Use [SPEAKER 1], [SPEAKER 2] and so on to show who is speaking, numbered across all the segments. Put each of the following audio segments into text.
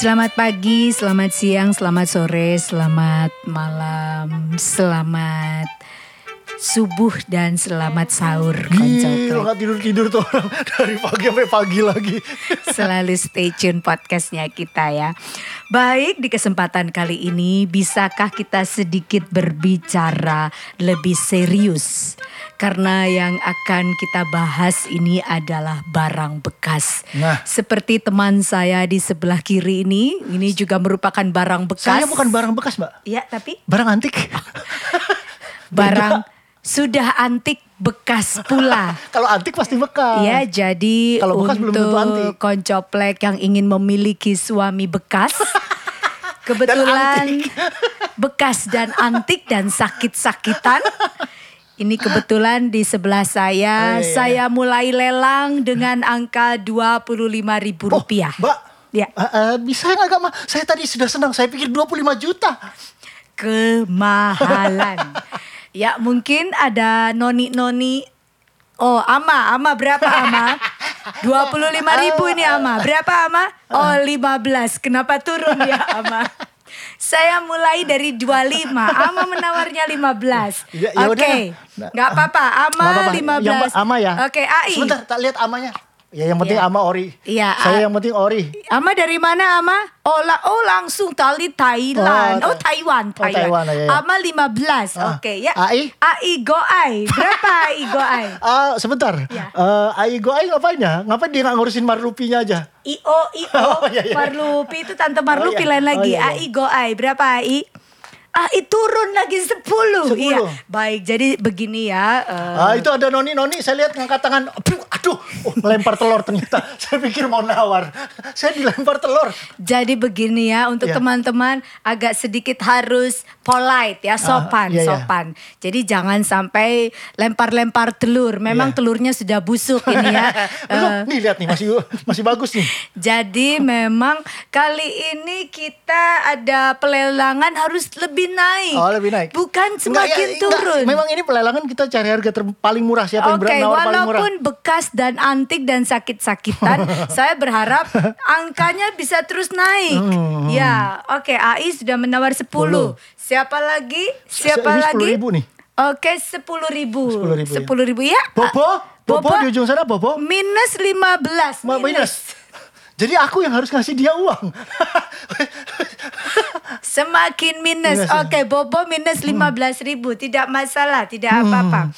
[SPEAKER 1] Selamat pagi, selamat siang, selamat sore, selamat malam, selamat subuh dan selamat sahur
[SPEAKER 2] Gila
[SPEAKER 1] konco.
[SPEAKER 2] gak tidur-tidur tuh orang dari pagi sampai pagi lagi.
[SPEAKER 1] Selalu stay tune podcastnya kita ya. Baik di kesempatan kali ini bisakah kita sedikit berbicara lebih serius? Karena yang akan kita bahas ini adalah barang bekas.
[SPEAKER 2] Nah.
[SPEAKER 1] Seperti teman saya di sebelah kiri ini, ini juga merupakan barang bekas.
[SPEAKER 2] Saya bukan barang bekas mbak,
[SPEAKER 1] Ya, tapi
[SPEAKER 2] barang antik.
[SPEAKER 1] barang sudah antik bekas pula.
[SPEAKER 2] Kalau antik pasti bekas.
[SPEAKER 1] Ya, jadi
[SPEAKER 2] Kalau bekas belum
[SPEAKER 1] untuk
[SPEAKER 2] tentu antik.
[SPEAKER 1] koncoplek yang ingin memiliki suami bekas, kebetulan
[SPEAKER 2] antik.
[SPEAKER 1] bekas dan antik dan sakit-sakitan. Ini kebetulan di sebelah saya,
[SPEAKER 2] Oh, iya.
[SPEAKER 1] saya mulai lelang dengan angka Rp25.000.
[SPEAKER 2] Oh,
[SPEAKER 1] rupiah.
[SPEAKER 2] Mbak,
[SPEAKER 1] Ya.
[SPEAKER 2] eh, eh, bisa nggak Kak, Ma? Saya tadi sudah senang, saya pikir 25 juta.
[SPEAKER 1] kemahalan. ya mungkin ada noni-noni. Oh Ama, Ama berapa Ama? 25 ribu ini Ama. Berapa Ama? Oh 15. Kenapa turun ya Ama? Saya mulai dari 25. Ama menawarnya 15.
[SPEAKER 2] Ya- ya
[SPEAKER 1] Oke.
[SPEAKER 2] udah.
[SPEAKER 1] nggak apa-apa. Ama
[SPEAKER 2] Nggak apa-apa. Yang Mbak,
[SPEAKER 1] 15.
[SPEAKER 2] ama ya.
[SPEAKER 1] Oke, AI.
[SPEAKER 2] Sebentar, tak lihat amanya. Ya yang penting
[SPEAKER 1] Iya.
[SPEAKER 2] ama ori.
[SPEAKER 1] Iya, A-
[SPEAKER 2] Saya yang penting ori.
[SPEAKER 1] Ama dari mana Ama? Oh, la- oh langsung dari Thailand. Oh,
[SPEAKER 2] Oh,
[SPEAKER 1] Taiwan,
[SPEAKER 2] oh,
[SPEAKER 1] Taiwan.
[SPEAKER 2] Taiwan, ya, ya.
[SPEAKER 1] Ama 15.
[SPEAKER 2] Ah.
[SPEAKER 1] Oke, ya.
[SPEAKER 2] AI?
[SPEAKER 1] AI goai. Berapa AI goai?
[SPEAKER 2] Ah, sebentar.
[SPEAKER 1] Iya.
[SPEAKER 2] Eh, Ai Goai ngapain ya? Ngapain dia nggak ngurusin marlupinya aja?
[SPEAKER 1] IO IO
[SPEAKER 2] Oh, iya, iya.
[SPEAKER 1] Marlupi itu tante Marlupi
[SPEAKER 2] Oh, iya.
[SPEAKER 1] lain lagi.
[SPEAKER 2] Oh, iya, iya.
[SPEAKER 1] AI goai. Berapa AI? AI turun lagi 10.
[SPEAKER 2] 10.
[SPEAKER 1] Iya. Baik, jadi begini ya. eh,
[SPEAKER 2] Ah, itu ada Noni, Noni saya lihat ngangkat tangan. Aduh, aduh, oh, melempar telur ternyata. saya pikir mau nawar. Saya dilempar telur.
[SPEAKER 1] Jadi begini ya untuk
[SPEAKER 2] Iya.
[SPEAKER 1] teman-teman agak sedikit harus polite ya sopan
[SPEAKER 2] iya, iya.
[SPEAKER 1] sopan. Jadi jangan sampai lempar-lempar telur. Memang
[SPEAKER 2] Iya.
[SPEAKER 1] telurnya sudah busuk ini ya.
[SPEAKER 2] Belum,
[SPEAKER 1] Eh,
[SPEAKER 2] nih lihat nih masih masih bagus nih.
[SPEAKER 1] jadi memang kali ini kita ada pelelangan harus lebih naik.
[SPEAKER 2] Oh, lebih naik.
[SPEAKER 1] Bukan
[SPEAKER 2] Enggak, ya,
[SPEAKER 1] semakin
[SPEAKER 2] enggak.
[SPEAKER 1] turun.
[SPEAKER 2] Memang ini pelelangan kita cari harga ter- paling murah siapa yang
[SPEAKER 1] Oke,
[SPEAKER 2] berani nawar paling murah.
[SPEAKER 1] walaupun bekas dan antik dan sakit-sakitan, saya berharap angkanya bisa terus naik. Ya, oke, AI sudah menawar 10.
[SPEAKER 2] Hmm. Sepuluh.
[SPEAKER 1] Siapa lagi?
[SPEAKER 2] Se-
[SPEAKER 1] Siapa
[SPEAKER 2] ini
[SPEAKER 1] lagi?
[SPEAKER 2] 10.000 nih.
[SPEAKER 1] Oke, 10.000 ribu.
[SPEAKER 2] 10.000, ya.
[SPEAKER 1] 10.000 ya.
[SPEAKER 2] Bobo,
[SPEAKER 1] Ah,
[SPEAKER 2] Bobo, di ujung sana Bobo.
[SPEAKER 1] Minus 15.
[SPEAKER 2] Ma minus. Jadi aku yang harus ngasih dia uang.
[SPEAKER 1] Semakin minus.
[SPEAKER 2] Minus, ya. Hmm.
[SPEAKER 1] Oke, Bobo minus 15.000 ribu. Tidak masalah, tidak apa-apa.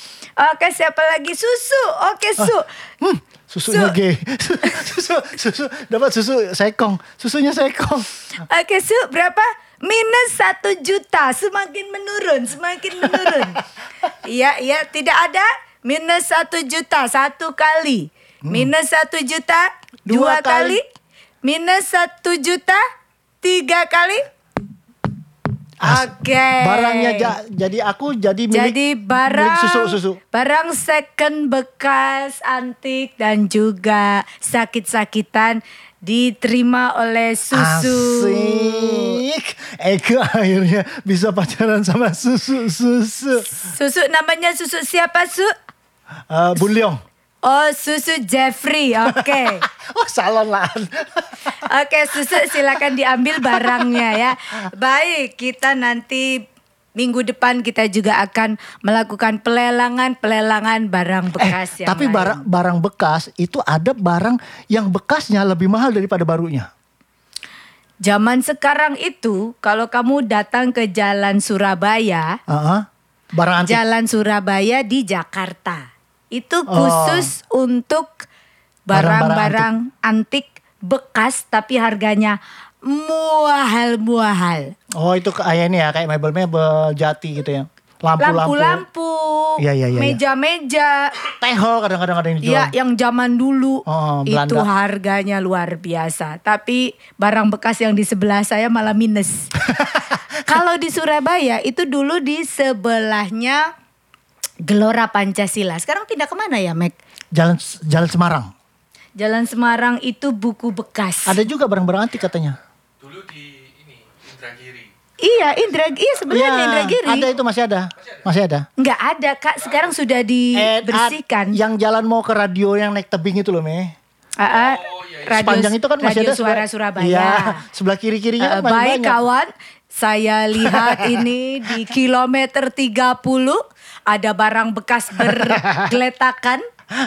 [SPEAKER 1] Oke, siapa lagi? Susu. Oke, Su.
[SPEAKER 2] hmm, susunya
[SPEAKER 1] Su-
[SPEAKER 2] gay. susu, susu, dapat susu sekong. Susunya sekong.
[SPEAKER 1] Oke, Su, berapa? Minus satu juta, semakin menurun, semakin menurun. Iya, iya, tidak ada minus satu juta satu kali, minus satu juta dua,
[SPEAKER 2] Hmm. Dua
[SPEAKER 1] kali.
[SPEAKER 2] kali.
[SPEAKER 1] minus satu juta tiga kali.
[SPEAKER 2] As-
[SPEAKER 1] Oke.
[SPEAKER 2] Barangnya ja- jadi aku jadi milik
[SPEAKER 1] Eh. Jadi barang
[SPEAKER 2] milik susu susu.
[SPEAKER 1] barang second bekas antik dan juga sakit-sakitan diterima oleh susu.
[SPEAKER 2] Asik. Eka akhirnya bisa pacaran sama susu susu.
[SPEAKER 1] Susu namanya susu siapa su?
[SPEAKER 2] Eh, Bun Leong.
[SPEAKER 1] Oh susu Jeffrey, oke.
[SPEAKER 2] Oh salon lah.
[SPEAKER 1] Oke susu silakan diambil barangnya ya. Baik kita nanti minggu depan kita juga akan melakukan pelelangan-pelelangan barang bekas yang
[SPEAKER 2] Eh, Tapi
[SPEAKER 1] lain.
[SPEAKER 2] barang barang bekas itu ada barang yang bekasnya lebih mahal daripada barunya.
[SPEAKER 1] Zaman sekarang itu kalau kamu datang ke Jalan Surabaya,
[SPEAKER 2] Heeh. Barang antik.
[SPEAKER 1] Jalan Surabaya di Jakarta. Itu
[SPEAKER 2] Oh.
[SPEAKER 1] khusus untuk barang-barang antik. bekas tapi harganya muahal-muahal.
[SPEAKER 2] Oh itu kayak ini ya kayak mebel-mebel jati gitu ya. Lampu-lampu.
[SPEAKER 1] Lampu-lampu,
[SPEAKER 2] Iya, iya, iya, iya.
[SPEAKER 1] meja-meja.
[SPEAKER 2] Tehol kadang-kadang ada yang dijual.
[SPEAKER 1] Ya, yang zaman dulu
[SPEAKER 2] Oh,
[SPEAKER 1] itu
[SPEAKER 2] Belanda.
[SPEAKER 1] harganya luar biasa. Tapi barang bekas yang di sebelah saya malah minus. Kalau di Surabaya itu dulu di sebelahnya Gelora Pancasila. Sekarang pindah kemana ya, Mac?
[SPEAKER 2] Jalan Jalan Semarang.
[SPEAKER 1] Jalan Semarang itu buku bekas.
[SPEAKER 2] Ada juga barang-barang antik katanya.
[SPEAKER 3] dulu di ini Indragiri
[SPEAKER 1] Iya, Indra, iya sebenarnya
[SPEAKER 2] Iya,
[SPEAKER 1] Indragiri.
[SPEAKER 2] Ada itu masih ada. Masih ada.
[SPEAKER 1] Nggak ada kak, sekarang sudah
[SPEAKER 2] Eh, ad-
[SPEAKER 1] dibersihkan.
[SPEAKER 2] yang jalan mau ke radio yang naik tebing itu loh, Meh.
[SPEAKER 1] Ah, ah.
[SPEAKER 3] oh iya
[SPEAKER 1] radio,
[SPEAKER 2] Sepanjang itu kan masih
[SPEAKER 1] radio
[SPEAKER 2] ada sebelah-
[SPEAKER 1] suara Surabaya.
[SPEAKER 2] Iya, sebelah kiri-kirinya
[SPEAKER 1] Eh,
[SPEAKER 2] kan masih
[SPEAKER 1] baik
[SPEAKER 2] banyak.
[SPEAKER 1] kawan, saya lihat ini di kilometer 30 ada barang bekas bergeletakan.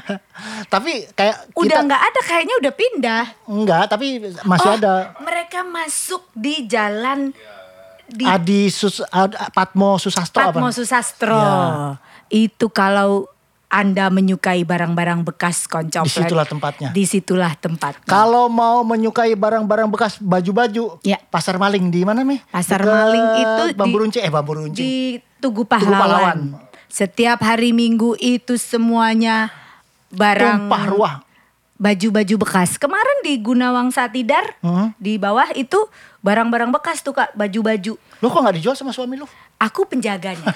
[SPEAKER 2] Tapi kayak
[SPEAKER 1] Udah
[SPEAKER 2] kita
[SPEAKER 1] nggak ada kayaknya udah pindah.
[SPEAKER 2] enggak, tapi masih
[SPEAKER 1] Oh,
[SPEAKER 2] ada
[SPEAKER 1] Mereka masuk di jalan di
[SPEAKER 2] Adi Sus Ad- Patmo Susastro
[SPEAKER 1] Patmo
[SPEAKER 2] apa?
[SPEAKER 1] Susastro.
[SPEAKER 2] Ya.
[SPEAKER 1] Itu kalau Anda menyukai barang-barang bekas koncoplet.
[SPEAKER 2] Disitulah tempatnya.
[SPEAKER 1] Disitulah tempat.
[SPEAKER 2] Kalau mau menyukai barang-barang bekas baju-baju,
[SPEAKER 1] Ya.
[SPEAKER 2] pasar maling di mana nih?
[SPEAKER 1] Pasar Maling itu di-
[SPEAKER 2] Bambu Runcing, eh Bambu Runcing.
[SPEAKER 1] di Tugu
[SPEAKER 2] Pahlawan.
[SPEAKER 1] Pahlawan. Setiap hari Minggu itu semuanya barang
[SPEAKER 2] Tumpah ruah.
[SPEAKER 1] Baju-baju bekas. Kemarin di Gunawang Satidar
[SPEAKER 2] Hmm.
[SPEAKER 1] di bawah itu barang-barang bekas tuh Kak, baju-baju.
[SPEAKER 2] Lu kok nggak dijual sama suami lu?
[SPEAKER 1] Aku penjaganya.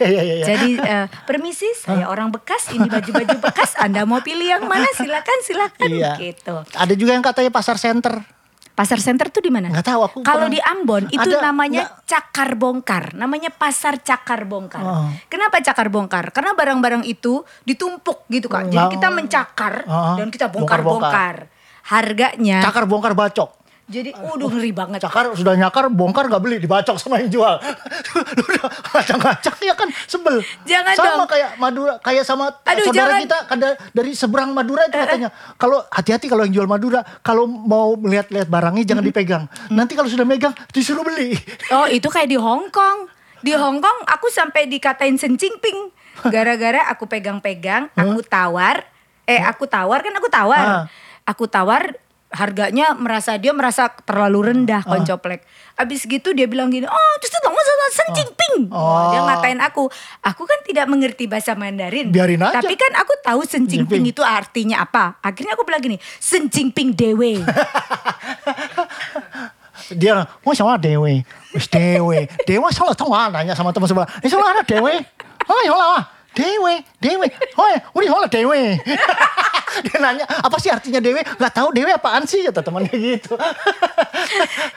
[SPEAKER 2] Iya iya iya.
[SPEAKER 1] Jadi eh, permisi saya orang bekas ini baju-baju bekas Anda mau pilih yang mana silakan silakan
[SPEAKER 2] Iya.
[SPEAKER 1] gitu.
[SPEAKER 2] Ada juga yang katanya pasar center.
[SPEAKER 1] Pasar Center tuh di mana?
[SPEAKER 2] Nggak tahu, aku
[SPEAKER 1] Kalau
[SPEAKER 2] pernah-
[SPEAKER 1] di Ambon itu
[SPEAKER 2] Ada,
[SPEAKER 1] namanya
[SPEAKER 2] nggak-
[SPEAKER 1] cakar bongkar, namanya pasar cakar bongkar.
[SPEAKER 2] Oh.
[SPEAKER 1] Kenapa cakar bongkar? Karena barang-barang itu ditumpuk gitu Kak. Jadi
[SPEAKER 2] Nggak-
[SPEAKER 1] kita mencakar
[SPEAKER 2] Oh.
[SPEAKER 1] dan kita
[SPEAKER 2] Bongkar-bongkar.
[SPEAKER 1] bongkar-bongkar. Harganya
[SPEAKER 2] Cakar bongkar bacok.
[SPEAKER 1] jadi udah ngeri banget.
[SPEAKER 2] Cakar sudah nyakar, bongkar nggak beli, dibacok sama yang jual. Lu udah ngacak-ngacak ya kan sebel.
[SPEAKER 1] Jangan
[SPEAKER 2] sama
[SPEAKER 1] dong.
[SPEAKER 2] kayak Madura, kayak sama eh,
[SPEAKER 1] Aduh, jangan.
[SPEAKER 2] saudara kita kada- dari seberang Madura itu katanya. Kalau hati-hati kalau yang jual Madura, kalau mau melihat-lihat barangnya jangan
[SPEAKER 1] Mm-hmm.
[SPEAKER 2] dipegang. Nanti kalau sudah megang disuruh beli.
[SPEAKER 1] Oh itu kayak di Hong Kong. Di Hong Kong aku sampai dikatain sencingping. Gara-gara aku pegang-pegang, aku tawar. Eh aku tawar kan aku tawar.
[SPEAKER 2] Ah.
[SPEAKER 1] Aku tawar harganya merasa dia merasa terlalu rendah koncoplek. Abis gitu dia bilang gini, oh justru dong sencingping.
[SPEAKER 2] Oh.
[SPEAKER 1] Dia ngatain aku. Aku kan tidak mengerti bahasa Mandarin.
[SPEAKER 2] Biarin aja.
[SPEAKER 1] Tapi kan aku tahu sencingping
[SPEAKER 2] Jingping.
[SPEAKER 1] itu artinya apa. Akhirnya aku bilang gini, sencingping dewe.
[SPEAKER 2] Dia, mau sama dewe. Wis dewe. Dewe salah tahu ah, nanya sama teman sebelah. Ini salah ada dewe. Oh, salah ah. Dewe, dewe. Oh, udah salah dewe. Dia nanya, apa sih artinya dewe? Gak tahu dewe apaan sih, kata temannya gitu.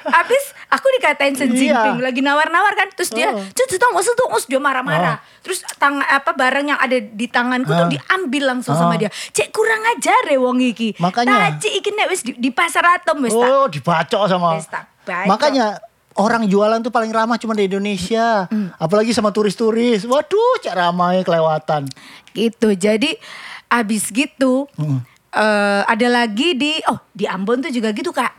[SPEAKER 1] Abis aku dikatain Xi Jinping
[SPEAKER 2] Iya.
[SPEAKER 1] lagi nawar-nawar kan, terus dia
[SPEAKER 2] Oh.
[SPEAKER 1] cuci tong usus tuh us," dia marah-marah. Terus tang apa barang yang ada di tanganku tuh
[SPEAKER 2] Ah.
[SPEAKER 1] diambil langsung
[SPEAKER 2] Ah.
[SPEAKER 1] sama dia. Cek kurang ajar ya wong iki.
[SPEAKER 2] Makanya.
[SPEAKER 1] Nah, cek iki nek wis di, di pasar atom wis tak.
[SPEAKER 2] Oh, dibacok sama.
[SPEAKER 1] Wis tak bacok.
[SPEAKER 2] Makanya orang jualan tuh paling ramah cuma di Indonesia.
[SPEAKER 1] Mm.
[SPEAKER 2] Apalagi sama turis-turis. Waduh, cak ramai kelewatan.
[SPEAKER 1] Gitu. Jadi abis gitu eh, ada lagi di oh di Ambon tuh juga gitu kak.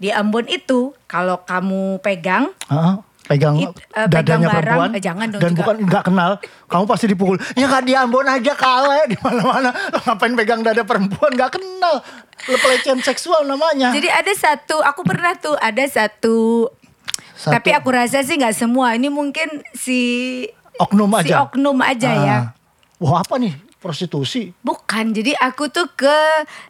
[SPEAKER 1] Di Ambon itu kalau kamu pegang
[SPEAKER 2] Hah? Pegang
[SPEAKER 1] It- eh, pegang
[SPEAKER 2] dadanya
[SPEAKER 1] barang,
[SPEAKER 2] perempuan
[SPEAKER 1] eh, jangan dong
[SPEAKER 2] dan
[SPEAKER 1] juga.
[SPEAKER 2] bukan nggak kenal kamu pasti dipukul ya nggak di Ambon aja kale di mana-mana lo ngapain pegang dada perempuan nggak kenal lo pelecehan seksual namanya
[SPEAKER 1] Jadi ada satu, aku pernah tuh ada satu,
[SPEAKER 2] Satu.
[SPEAKER 1] tapi aku rasa sih nggak semua. Ini mungkin si
[SPEAKER 2] oknum
[SPEAKER 1] si
[SPEAKER 2] aja
[SPEAKER 1] oknum aja ya.
[SPEAKER 2] Ah. wah apa nih prostitusi
[SPEAKER 1] Bukan, jadi aku tuh ke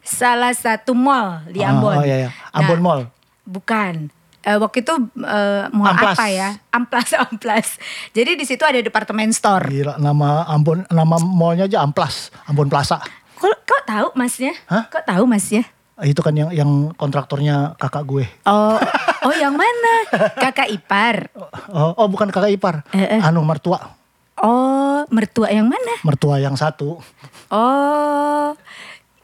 [SPEAKER 1] salah satu mall di
[SPEAKER 2] Ah,
[SPEAKER 1] Ambon. Nah,
[SPEAKER 2] oh iya, iya. Ambon Mall.
[SPEAKER 1] Bukan. Eh, waktu itu eh, mall
[SPEAKER 2] Amplas.
[SPEAKER 1] apa ya? Amplas, amplas. Jadi di situ ada departemen store.
[SPEAKER 2] Gila, nama Ambon nama mallnya aja Amplas Ambon Plaza
[SPEAKER 1] Kok, kok tahu masnya?
[SPEAKER 2] Hah?
[SPEAKER 1] Kok tahu masnya?
[SPEAKER 2] itu kan yang yang kontraktornya kakak gue
[SPEAKER 1] Oh, oh yang mana? Kakak ipar.
[SPEAKER 2] oh, oh, bukan kakak ipar
[SPEAKER 1] Eh, eh.
[SPEAKER 2] anu mertua
[SPEAKER 1] Oh, mertua yang mana?
[SPEAKER 2] mertua yang satu
[SPEAKER 1] Oh,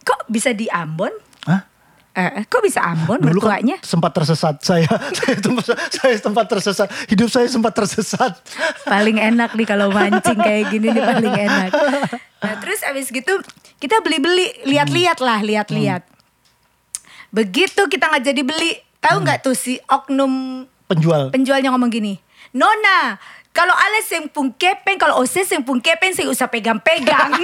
[SPEAKER 1] kok bisa di Ambon?
[SPEAKER 2] Hah?
[SPEAKER 1] Eh, kok bisa Ambon
[SPEAKER 2] Dulu kan
[SPEAKER 1] mertuanya?
[SPEAKER 2] sempat tersesat saya, saya tempat saya tempat tersesat, hidup saya sempat tersesat.
[SPEAKER 1] Paling enak nih kalau mancing kayak gini nih paling enak. Nah terus abis gitu kita beli-beli, lihat-lihat lah, lihat-lihat.
[SPEAKER 2] Hmm.
[SPEAKER 1] Begitu kita nggak jadi beli, tahu nggak
[SPEAKER 2] Hmm.
[SPEAKER 1] tuh si oknum
[SPEAKER 2] Penjual.
[SPEAKER 1] penjualnya ngomong gini, Nona, kalau ales yang pun kepeng, kalau oses yang pun kepeng, saya usah pegang-pegang.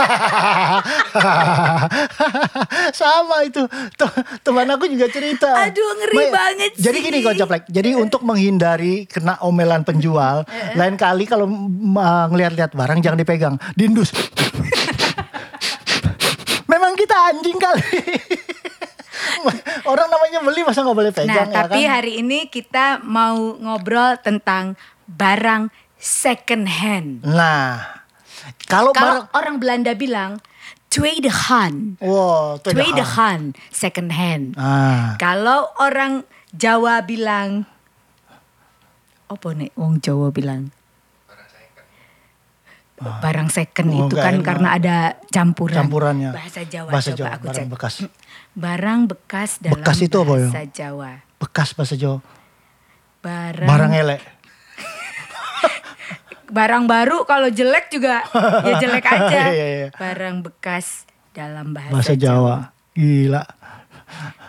[SPEAKER 2] Sama itu. Tem- Teman aku juga cerita.
[SPEAKER 1] Aduh, ngeri banget sih.
[SPEAKER 2] Jadi
[SPEAKER 1] Eh.
[SPEAKER 2] gini Kocaplek. Jadi untuk menghindari kena omelan penjual, lain kali kalau mm, uh, ngelihat-lihat barang jangan dipegang, diindus. Memang kita anjing kali. Orang namanya beli masa nggak boleh
[SPEAKER 1] nah
[SPEAKER 2] pegang ya
[SPEAKER 1] tapi
[SPEAKER 2] kan?
[SPEAKER 1] hari ini kita mau ngobrol tentang barang second hand.
[SPEAKER 2] Nah, kalau Oh, barang
[SPEAKER 1] Kalau orang Belanda bilang tweedehan.
[SPEAKER 2] Wow, tweedahan.
[SPEAKER 1] Tweedehan second hand.
[SPEAKER 2] Ah.
[SPEAKER 1] Kalau orang Jawa bilang apa nih wong Jawa bilang barang second
[SPEAKER 2] Oh,
[SPEAKER 1] itu
[SPEAKER 2] nggak
[SPEAKER 1] kan
[SPEAKER 2] enak.
[SPEAKER 1] karena ada campuran.
[SPEAKER 2] Campurannya.
[SPEAKER 1] Bahasa Jawa
[SPEAKER 2] Bahasa
[SPEAKER 1] coba
[SPEAKER 2] Jawa,
[SPEAKER 1] aku
[SPEAKER 2] barang
[SPEAKER 1] cek.
[SPEAKER 2] bekas.
[SPEAKER 1] Barang bekas dalam
[SPEAKER 2] Bekas itu apa ya?
[SPEAKER 1] bahasa Jawa.
[SPEAKER 2] Bekas bahasa Jawa.
[SPEAKER 1] Barang
[SPEAKER 2] Barang elek.
[SPEAKER 1] barang baru kalau jelek juga ya jelek aja.
[SPEAKER 2] Iya, iya.
[SPEAKER 1] Barang bekas dalam bahasa,
[SPEAKER 2] Bahasa Jawa. Gila.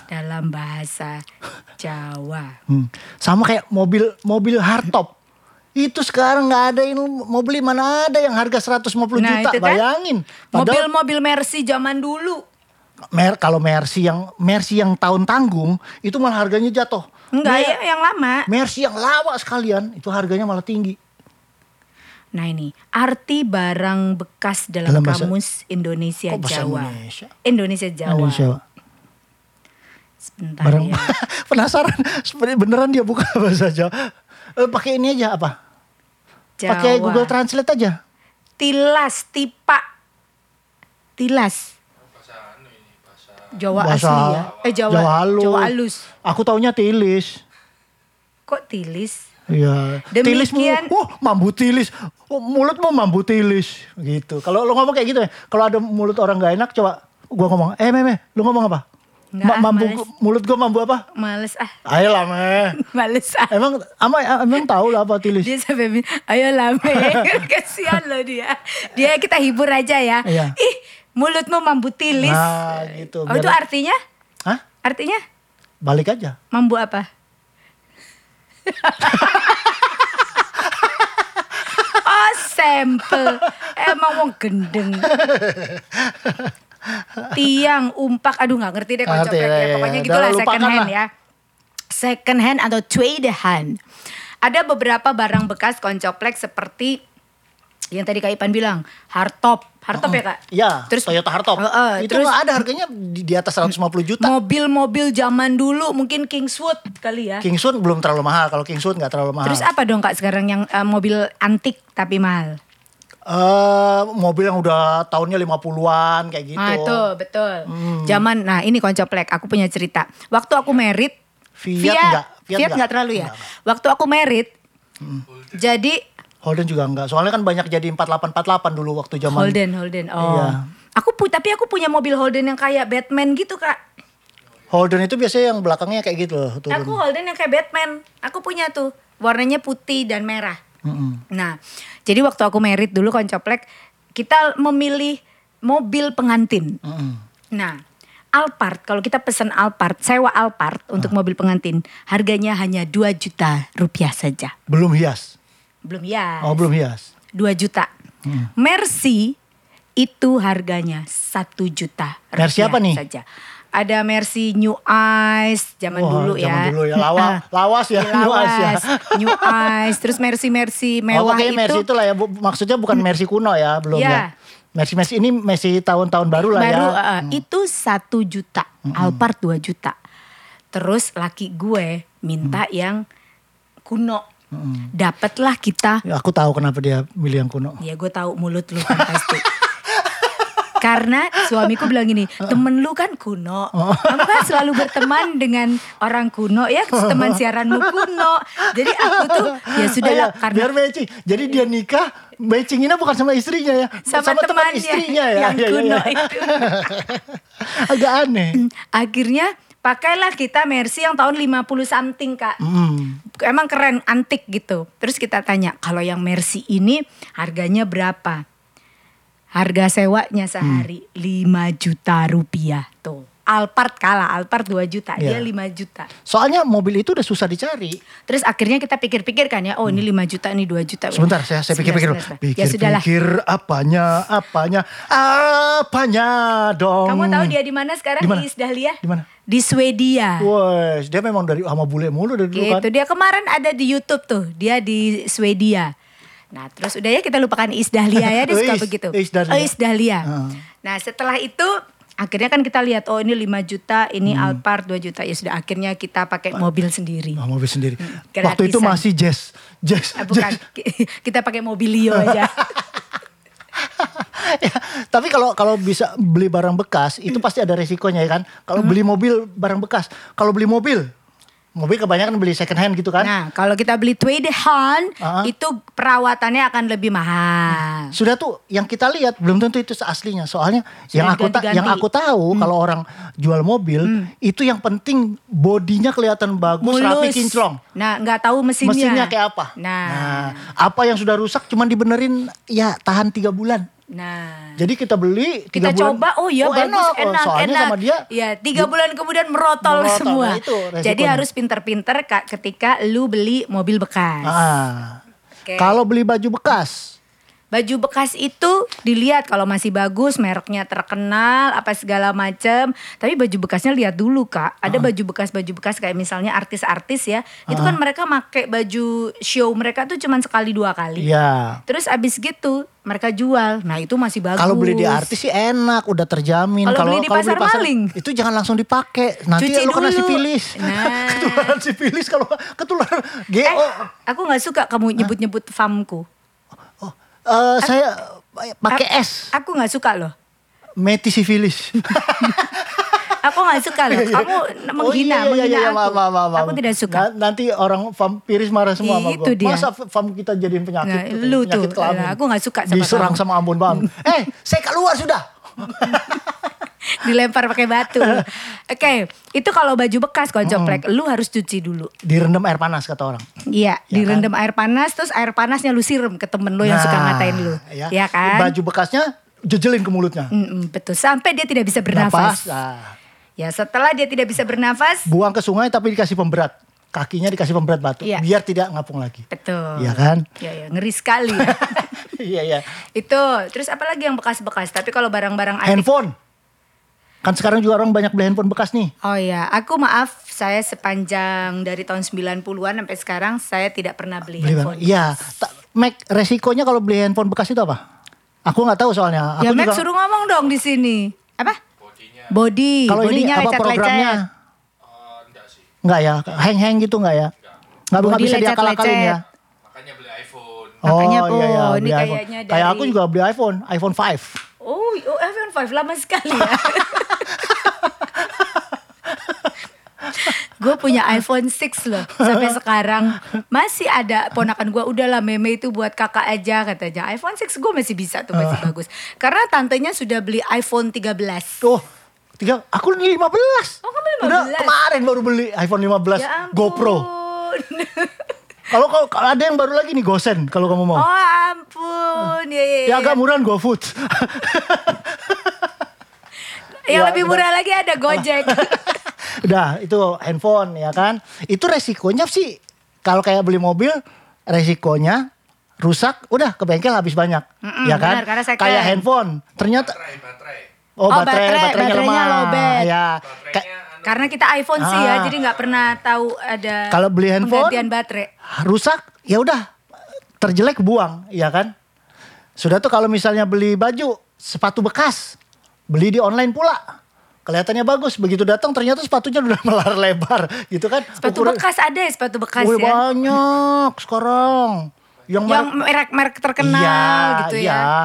[SPEAKER 1] Dalam bahasa Jawa.
[SPEAKER 2] Hmm. Sama kayak mobil mobil hardtop. Itu sekarang nggak ada yang mau beli mana ada yang harga 150
[SPEAKER 1] Nah,
[SPEAKER 2] juta
[SPEAKER 1] itu kan.
[SPEAKER 2] bayangin. Padahal
[SPEAKER 1] Mobil-mobil Mercy zaman dulu.
[SPEAKER 2] mer kalau Mercy yang Mercy yang tahun tanggung itu malah harganya jatuh.
[SPEAKER 1] Enggak
[SPEAKER 2] Mer-
[SPEAKER 1] ya yang lama.
[SPEAKER 2] Mercy yang lawa sekalian itu harganya malah tinggi.
[SPEAKER 1] Nah ini arti barang bekas dalam,
[SPEAKER 2] Dalam bahasa-
[SPEAKER 1] kamus Indonesia
[SPEAKER 2] Kok bahasa
[SPEAKER 1] Jawa.
[SPEAKER 2] Indonesia?
[SPEAKER 1] Indonesia Jawa.
[SPEAKER 2] Indonesia.
[SPEAKER 1] Sebentar
[SPEAKER 2] Barang
[SPEAKER 1] ya.
[SPEAKER 2] penasaran sebenarnya beneran dia buka bahasa Jawa. Eh, pakai ini aja apa?
[SPEAKER 1] Jawa.
[SPEAKER 2] Pakai Google Translate aja.
[SPEAKER 1] Tilas, tipa. Tilas. Jawa
[SPEAKER 2] Bahasa-
[SPEAKER 1] asli ya. Eh Jawa.
[SPEAKER 2] Jawa halus.
[SPEAKER 1] Jawa halus.
[SPEAKER 2] Aku taunya tilis.
[SPEAKER 1] Kok tilis?
[SPEAKER 2] Iya. Tilis mu,
[SPEAKER 1] Demikian-
[SPEAKER 2] wah mambu tilis. Oh, mulutmu mambu tilis gitu. Kalau lo ngomong kayak gitu ya, kalau ada mulut orang nggak enak coba gua ngomong, "Eh, meme, lu ngomong apa?"
[SPEAKER 1] Nggak,
[SPEAKER 2] Ma-
[SPEAKER 1] ah,
[SPEAKER 2] mambu
[SPEAKER 1] males.
[SPEAKER 2] mulut gua mambu apa?
[SPEAKER 1] Males ah.
[SPEAKER 2] Ayolah, meh.
[SPEAKER 1] Males ah.
[SPEAKER 2] Emang ama emang tahu lah apa tilis.
[SPEAKER 1] Dia sampai bilang, ayo lame. Kasihan loh dia. Dia kita hibur aja ya.
[SPEAKER 2] Iya.
[SPEAKER 1] Ih, mulutmu mambu tilis.
[SPEAKER 2] Nah, gitu.
[SPEAKER 1] Oh, itu
[SPEAKER 2] Biar-
[SPEAKER 1] artinya?
[SPEAKER 2] Hah?
[SPEAKER 1] Artinya?
[SPEAKER 2] Balik aja.
[SPEAKER 1] Mambu apa? oh sampel Emang mau gendeng Tiang, umpak Aduh gak ngerti deh
[SPEAKER 2] Nggak
[SPEAKER 1] kocok
[SPEAKER 2] ngerti,
[SPEAKER 1] ya,
[SPEAKER 2] ya, ya,
[SPEAKER 1] Pokoknya
[SPEAKER 2] ya.
[SPEAKER 1] gitu lah
[SPEAKER 2] Udah,
[SPEAKER 1] second
[SPEAKER 2] lupakan
[SPEAKER 1] hand
[SPEAKER 2] lah.
[SPEAKER 1] ya Second hand atau trade hand Ada beberapa barang bekas koncoplek seperti yang tadi Kak Ipan bilang, hardtop. Hardtop ya, Kak?
[SPEAKER 2] Iya,
[SPEAKER 1] Terus
[SPEAKER 2] Toyota Hardtop.
[SPEAKER 1] Heeh,
[SPEAKER 2] itu
[SPEAKER 1] terus
[SPEAKER 2] ada harganya di, di atas 150 juta.
[SPEAKER 1] mobil-mobil zaman dulu mungkin Kingswood kali ya.
[SPEAKER 2] Kingsun belum terlalu mahal. Kalau Kingsun nggak terlalu mahal.
[SPEAKER 1] Terus apa dong kak sekarang yang eh, mobil antik tapi mahal?
[SPEAKER 2] Eh, mobil yang udah tahunnya 50-an kayak gitu. Hmm.
[SPEAKER 1] Ah itu betul. Zaman nah ini koncoplek. Aku punya cerita. Waktu aku merit,
[SPEAKER 2] Fiat enggak, Fiat
[SPEAKER 1] Fiat, enggak
[SPEAKER 2] enggak.
[SPEAKER 1] terlalu ya.
[SPEAKER 2] Enggak,
[SPEAKER 1] Waktu aku merit,
[SPEAKER 2] Hmm.
[SPEAKER 1] jadi
[SPEAKER 2] Holden juga enggak. Soalnya kan banyak jadi 4848 dulu waktu zaman.
[SPEAKER 1] Holden Holden. Oh,
[SPEAKER 2] Iya.
[SPEAKER 1] aku pu tapi aku punya mobil Holden yang kayak Batman gitu kak.
[SPEAKER 2] Holden itu biasanya yang belakangnya kayak gitu loh, turun.
[SPEAKER 1] Aku Holden yang kayak Batman. Aku punya tuh warnanya putih dan merah.
[SPEAKER 2] Mm-mm.
[SPEAKER 1] Nah, jadi waktu aku merit dulu koncoplek, kita memilih mobil pengantin.
[SPEAKER 2] Mm-mm.
[SPEAKER 1] Nah, Alphard kalau kita pesan Alphard, sewa Alphard
[SPEAKER 2] Ah.
[SPEAKER 1] untuk mobil pengantin, harganya hanya 2 juta rupiah saja.
[SPEAKER 2] Belum hias.
[SPEAKER 1] Belum ya?
[SPEAKER 2] Oh, belum Hmm. hias.
[SPEAKER 1] 2 juta. Mercy itu harganya 1 juta rupiah
[SPEAKER 2] Mercy apa nih?
[SPEAKER 1] saja. Ada Mercy New Ice zaman
[SPEAKER 2] Wah,
[SPEAKER 1] dulu ya. Iya,
[SPEAKER 2] zaman dulu ya. Lawa- lawas ya,
[SPEAKER 1] Lawas,
[SPEAKER 2] New Ice ya.
[SPEAKER 1] New Ice, terus Mercy-Mercy mewah
[SPEAKER 2] oh, kayaknya Mercy
[SPEAKER 1] itu. Hmm.
[SPEAKER 2] itu lah ya. Bu- Maksudnya bukan Mercy kuno ya, belum
[SPEAKER 1] Iya.
[SPEAKER 2] ya. Mercy-Mercy ini Mercy tahun-tahun baru lah
[SPEAKER 1] baru
[SPEAKER 2] ya.
[SPEAKER 1] eh, itu satu juta
[SPEAKER 2] Hmm.
[SPEAKER 1] Alphard 2 juta terus laki gue minta
[SPEAKER 2] Hmm.
[SPEAKER 1] yang kuno dapatlah kita
[SPEAKER 2] Ya, Aku tahu kenapa dia milih yang kuno.
[SPEAKER 1] ya gue tahu mulut lu kan pasti karena suamiku bilang gini temen lu kan kuno
[SPEAKER 2] Oh.
[SPEAKER 1] kamu kan selalu berteman dengan orang kuno ya teman siaranmu kuno jadi aku tuh ya sudah lah
[SPEAKER 2] Oh, iya,
[SPEAKER 1] karena
[SPEAKER 2] biar matching. Jadi dia nikah matchinginnya bukan sama istrinya ya,
[SPEAKER 1] sama,
[SPEAKER 2] teman
[SPEAKER 1] temannya
[SPEAKER 2] istrinya ya.
[SPEAKER 1] yang
[SPEAKER 2] Iya, iya,
[SPEAKER 1] kuno Mm.
[SPEAKER 2] iya.
[SPEAKER 1] itu
[SPEAKER 2] Agak aneh.
[SPEAKER 1] akhirnya pakailah kita Mercy yang tahun 50 something kak
[SPEAKER 2] Hmm.
[SPEAKER 1] emang keren antik gitu. Terus kita tanya kalau yang Mercy ini harganya berapa? Harga sewanya sehari 5
[SPEAKER 2] Hmm.
[SPEAKER 1] juta rupiah tuh. Alphard kalah, Alphard 2 juta, dia
[SPEAKER 2] Iya.
[SPEAKER 1] 5 juta.
[SPEAKER 2] Soalnya mobil itu udah susah dicari.
[SPEAKER 1] Terus akhirnya kita pikir-pikir kan ya, oh ini 5 juta, ini 2 juta.
[SPEAKER 2] Hmm. Sebentar, saya saya
[SPEAKER 1] Sebentar,
[SPEAKER 2] pikir-pikir. dulu.
[SPEAKER 1] sebentar, sebentar. Ya sudahlah.
[SPEAKER 2] Pikir-pikir apanya, apanya, apanya dong.
[SPEAKER 1] Kamu tahu dia di mana sekarang?
[SPEAKER 2] Di mana?
[SPEAKER 1] Di Isdahlia?
[SPEAKER 2] Di mana?
[SPEAKER 1] Di Swedia.
[SPEAKER 2] Wes, dia memang dari sama bule mulu dari dulu
[SPEAKER 1] Gitu
[SPEAKER 2] kan.
[SPEAKER 1] dia kemarin ada di YouTube tuh, dia di Swedia. Nah, terus udah ya kita lupakan Iis Dahlia ya, dia suka
[SPEAKER 2] Iis-
[SPEAKER 1] begitu.
[SPEAKER 2] Iis Dahlia.
[SPEAKER 1] Oh, Iis Dahlia.
[SPEAKER 2] Heeh.
[SPEAKER 1] Nah, setelah itu akhirnya kan kita lihat oh ini 5 juta, ini
[SPEAKER 2] Hmm.
[SPEAKER 1] Alphard 2 juta. Ya sudah akhirnya kita
[SPEAKER 2] Ah.
[SPEAKER 1] pakai mobil sendiri.
[SPEAKER 2] Oh, mobil sendiri.
[SPEAKER 1] Mm, gratisan.
[SPEAKER 2] Waktu itu masih jazz, jazz,
[SPEAKER 1] Eh, bukan
[SPEAKER 2] jazz.
[SPEAKER 1] kita pakai mobilio aja.
[SPEAKER 2] Ya, tapi kalau kalau bisa beli
[SPEAKER 1] Hmm.
[SPEAKER 2] barang bekas itu pasti ada resikonya ya kan. Kalau beli mobil barang bekas, kalau beli mobil Mobil kebanyakan beli second hand gitu kan.
[SPEAKER 1] Nah, kalau kita beli Tweede hand,
[SPEAKER 2] Ah.
[SPEAKER 1] itu perawatannya akan lebih mahal.
[SPEAKER 2] Sudah tuh yang kita lihat belum tentu itu aslinya. Soalnya yang aku ta-
[SPEAKER 1] diganti-ganti. Hmm.
[SPEAKER 2] yang aku tahu kalau orang jual mobil itu yang penting bodinya kelihatan bagus, rapi kinclong.
[SPEAKER 1] Nah, nggak tahu mesinnya.
[SPEAKER 2] Mesinnya kayak apa?
[SPEAKER 1] Nah,
[SPEAKER 2] Nah, apa yang sudah rusak cuman dibenerin ya tahan tiga bulan.
[SPEAKER 1] nah.
[SPEAKER 2] Jadi kita beli
[SPEAKER 1] Kita
[SPEAKER 2] tiga bulan.
[SPEAKER 1] coba, oh ya bagus,
[SPEAKER 2] enak.
[SPEAKER 1] enak,
[SPEAKER 2] Oh,
[SPEAKER 1] enak.
[SPEAKER 2] Soalnya sama dia
[SPEAKER 1] Ya, tiga bulan kemudian merotol,
[SPEAKER 2] Merotol,
[SPEAKER 1] semua.
[SPEAKER 2] nah itu resikonya.
[SPEAKER 1] Jadi harus pinter-pinter Kak, ketika lu beli mobil bekas.
[SPEAKER 2] Ah.
[SPEAKER 1] Oke.
[SPEAKER 2] Kalau beli baju bekas,
[SPEAKER 1] Baju bekas itu dilihat kalau masih bagus, mereknya terkenal, apa segala macem. Tapi baju bekasnya lihat dulu kak. Ada
[SPEAKER 2] Ah.
[SPEAKER 1] baju bekas, baju bekas kayak misalnya artis-artis ya. Itu kan mereka make baju show mereka tuh cuman sekali dua kali.
[SPEAKER 2] ya
[SPEAKER 1] Terus abis gitu mereka jual. Nah itu masih bagus.
[SPEAKER 2] kalau beli di artis sih enak, udah terjamin.
[SPEAKER 1] Kalau beli di pasar maling.
[SPEAKER 2] itu jangan langsung dipakai. Nanti
[SPEAKER 1] Cuci
[SPEAKER 2] lu kena
[SPEAKER 1] dulu.
[SPEAKER 2] sifilis.
[SPEAKER 1] Nah.
[SPEAKER 2] ketularan sifilis kalau ketularan GO.
[SPEAKER 1] Eh, aku nggak suka kamu nyebut-nyebut famku.
[SPEAKER 2] Oh, eh, saya eh, pakai
[SPEAKER 1] Ap-
[SPEAKER 2] S,
[SPEAKER 1] Aku nggak suka loh.
[SPEAKER 2] meti sifilis.
[SPEAKER 1] Aku nggak suka loh. Kamu menghina,
[SPEAKER 2] Iya, Oh,
[SPEAKER 1] menghina
[SPEAKER 2] iya, iya, iya, iya,
[SPEAKER 1] aku.
[SPEAKER 2] maaf, maaf, maaf, maaf.
[SPEAKER 1] Aku tidak suka.
[SPEAKER 2] Na- nanti orang vampiris marah semua sama
[SPEAKER 1] Itu
[SPEAKER 2] gua.
[SPEAKER 1] dia.
[SPEAKER 2] Masa f- fam kita jadiin penyakit?
[SPEAKER 1] Nah,
[SPEAKER 2] gitu,
[SPEAKER 1] lu
[SPEAKER 2] penyakit
[SPEAKER 1] tuh, alah, aku nggak suka sama
[SPEAKER 2] Diserang
[SPEAKER 1] kamu.
[SPEAKER 2] sama Ambon Bang. eh, saya keluar sudah.
[SPEAKER 1] dilempar pakai batu. Oke, itu kalau baju bekas kalau joplek, lu harus cuci dulu.
[SPEAKER 2] Direndam air panas kata orang.
[SPEAKER 1] Iya,
[SPEAKER 2] Ya
[SPEAKER 1] direndam air panas terus air panasnya lu siram ke temen lu yang suka
[SPEAKER 2] Nah,
[SPEAKER 1] ngatain lu. Iya kan?
[SPEAKER 2] Baju bekasnya jejelin ke mulutnya.
[SPEAKER 1] Mm-mm, betul, sampai dia tidak bisa bernafas.
[SPEAKER 2] ah.
[SPEAKER 1] Ya, setelah dia tidak bisa bernafas,
[SPEAKER 2] buang ke sungai tapi dikasih pemberat. Kakinya dikasih pemberat batu
[SPEAKER 1] Iya.
[SPEAKER 2] biar tidak ngapung lagi.
[SPEAKER 1] betul.
[SPEAKER 2] Iya kan?
[SPEAKER 1] Iya, iya, ngeri sekali.
[SPEAKER 2] Iya iya.
[SPEAKER 1] itu, terus apalagi yang bekas-bekas, tapi kalau barang-barang antik
[SPEAKER 2] Handphone. Kan sekarang juga orang banyak beli handphone bekas nih.
[SPEAKER 1] Oh ya, aku maaf saya sepanjang dari tahun 90-an sampai sekarang saya tidak pernah beli,
[SPEAKER 2] Beli
[SPEAKER 1] handphone.
[SPEAKER 2] handphone. Iya. Ta- Mac resikonya kalau beli handphone bekas itu apa? Aku nggak tahu soalnya. Aku
[SPEAKER 1] Ya Max
[SPEAKER 2] juga-
[SPEAKER 1] suruh ngomong dong di sini. Apa?
[SPEAKER 3] bodinya
[SPEAKER 1] Body.
[SPEAKER 2] kalau ini
[SPEAKER 1] Bodinya
[SPEAKER 2] apa programnya?
[SPEAKER 1] lecet-lecet.
[SPEAKER 3] eh, enggak sih
[SPEAKER 2] Nggak ya, hang-hang gitu nggak ya? Nggak nggak
[SPEAKER 1] Body
[SPEAKER 2] bisa diakal-akalin ya. Oh, iya,
[SPEAKER 1] lecet-lecet.
[SPEAKER 3] makanya beli iPhone
[SPEAKER 1] Makanya, Bu,
[SPEAKER 2] beli
[SPEAKER 1] ini
[SPEAKER 2] iPhone.
[SPEAKER 1] kayaknya
[SPEAKER 2] Kayak
[SPEAKER 1] dari-
[SPEAKER 2] aku juga beli iPhone, iPhone 5.
[SPEAKER 1] Oh, oh iPhone 5 lama sekali ya. gue punya iPhone 6 loh sampai sekarang masih ada ponakan gue udahlah meme itu buat kakak aja katanya iPhone 6 gue masih bisa tuh
[SPEAKER 2] Ah.
[SPEAKER 1] masih bagus karena tantenya sudah beli iPhone 13
[SPEAKER 2] Oh, tiga. Aku ini 15.
[SPEAKER 1] Oh, kamu 15.
[SPEAKER 2] Udah kemarin baru beli iPhone 15
[SPEAKER 1] ya ampun
[SPEAKER 2] GoPro. Kalau kalau kalau ada yang baru lagi nih Gosen kalau kamu mau.
[SPEAKER 1] oh ampun ya, ya,
[SPEAKER 2] ya agak murahan GoFood.
[SPEAKER 1] yang
[SPEAKER 2] Ya,
[SPEAKER 1] lebih
[SPEAKER 2] udah.
[SPEAKER 1] murah lagi ada Gojek
[SPEAKER 2] Udah, itu handphone ya kan. Itu resikonya sih kalau kayak beli mobil resikonya rusak udah ke bengkel habis banyak
[SPEAKER 1] Mm-mm,
[SPEAKER 2] ya kan
[SPEAKER 1] benar, karena second.
[SPEAKER 2] kayak handphone ternyata
[SPEAKER 3] baterai baterai
[SPEAKER 2] oh,
[SPEAKER 1] Oh,
[SPEAKER 2] baterai,
[SPEAKER 1] baterai,
[SPEAKER 2] baterainya,
[SPEAKER 1] baterainya
[SPEAKER 2] lemah
[SPEAKER 1] lowbat.
[SPEAKER 2] ya Ka-
[SPEAKER 3] baterainya anu,
[SPEAKER 1] Karena kita iPhone sih ya,
[SPEAKER 2] Ah.
[SPEAKER 1] jadi nggak pernah tahu ada
[SPEAKER 2] Kalau beli handphone-
[SPEAKER 1] penggantian baterai.
[SPEAKER 2] rusak ya udah terjelek buang ya kan sudah tuh kalau misalnya beli baju sepatu bekas beli di online pula kelihatannya bagus begitu datang ternyata sepatunya udah melar lebar gitu kan
[SPEAKER 1] Sepatu
[SPEAKER 2] Ukuran-
[SPEAKER 1] bekas ada ya, sepatu bekas
[SPEAKER 2] Wih,
[SPEAKER 1] ya.
[SPEAKER 2] banyak sekarang yang,
[SPEAKER 1] Yang
[SPEAKER 2] merek-
[SPEAKER 1] merek-merek terkenal
[SPEAKER 2] Iya,
[SPEAKER 1] gitu
[SPEAKER 2] iya.
[SPEAKER 1] ya.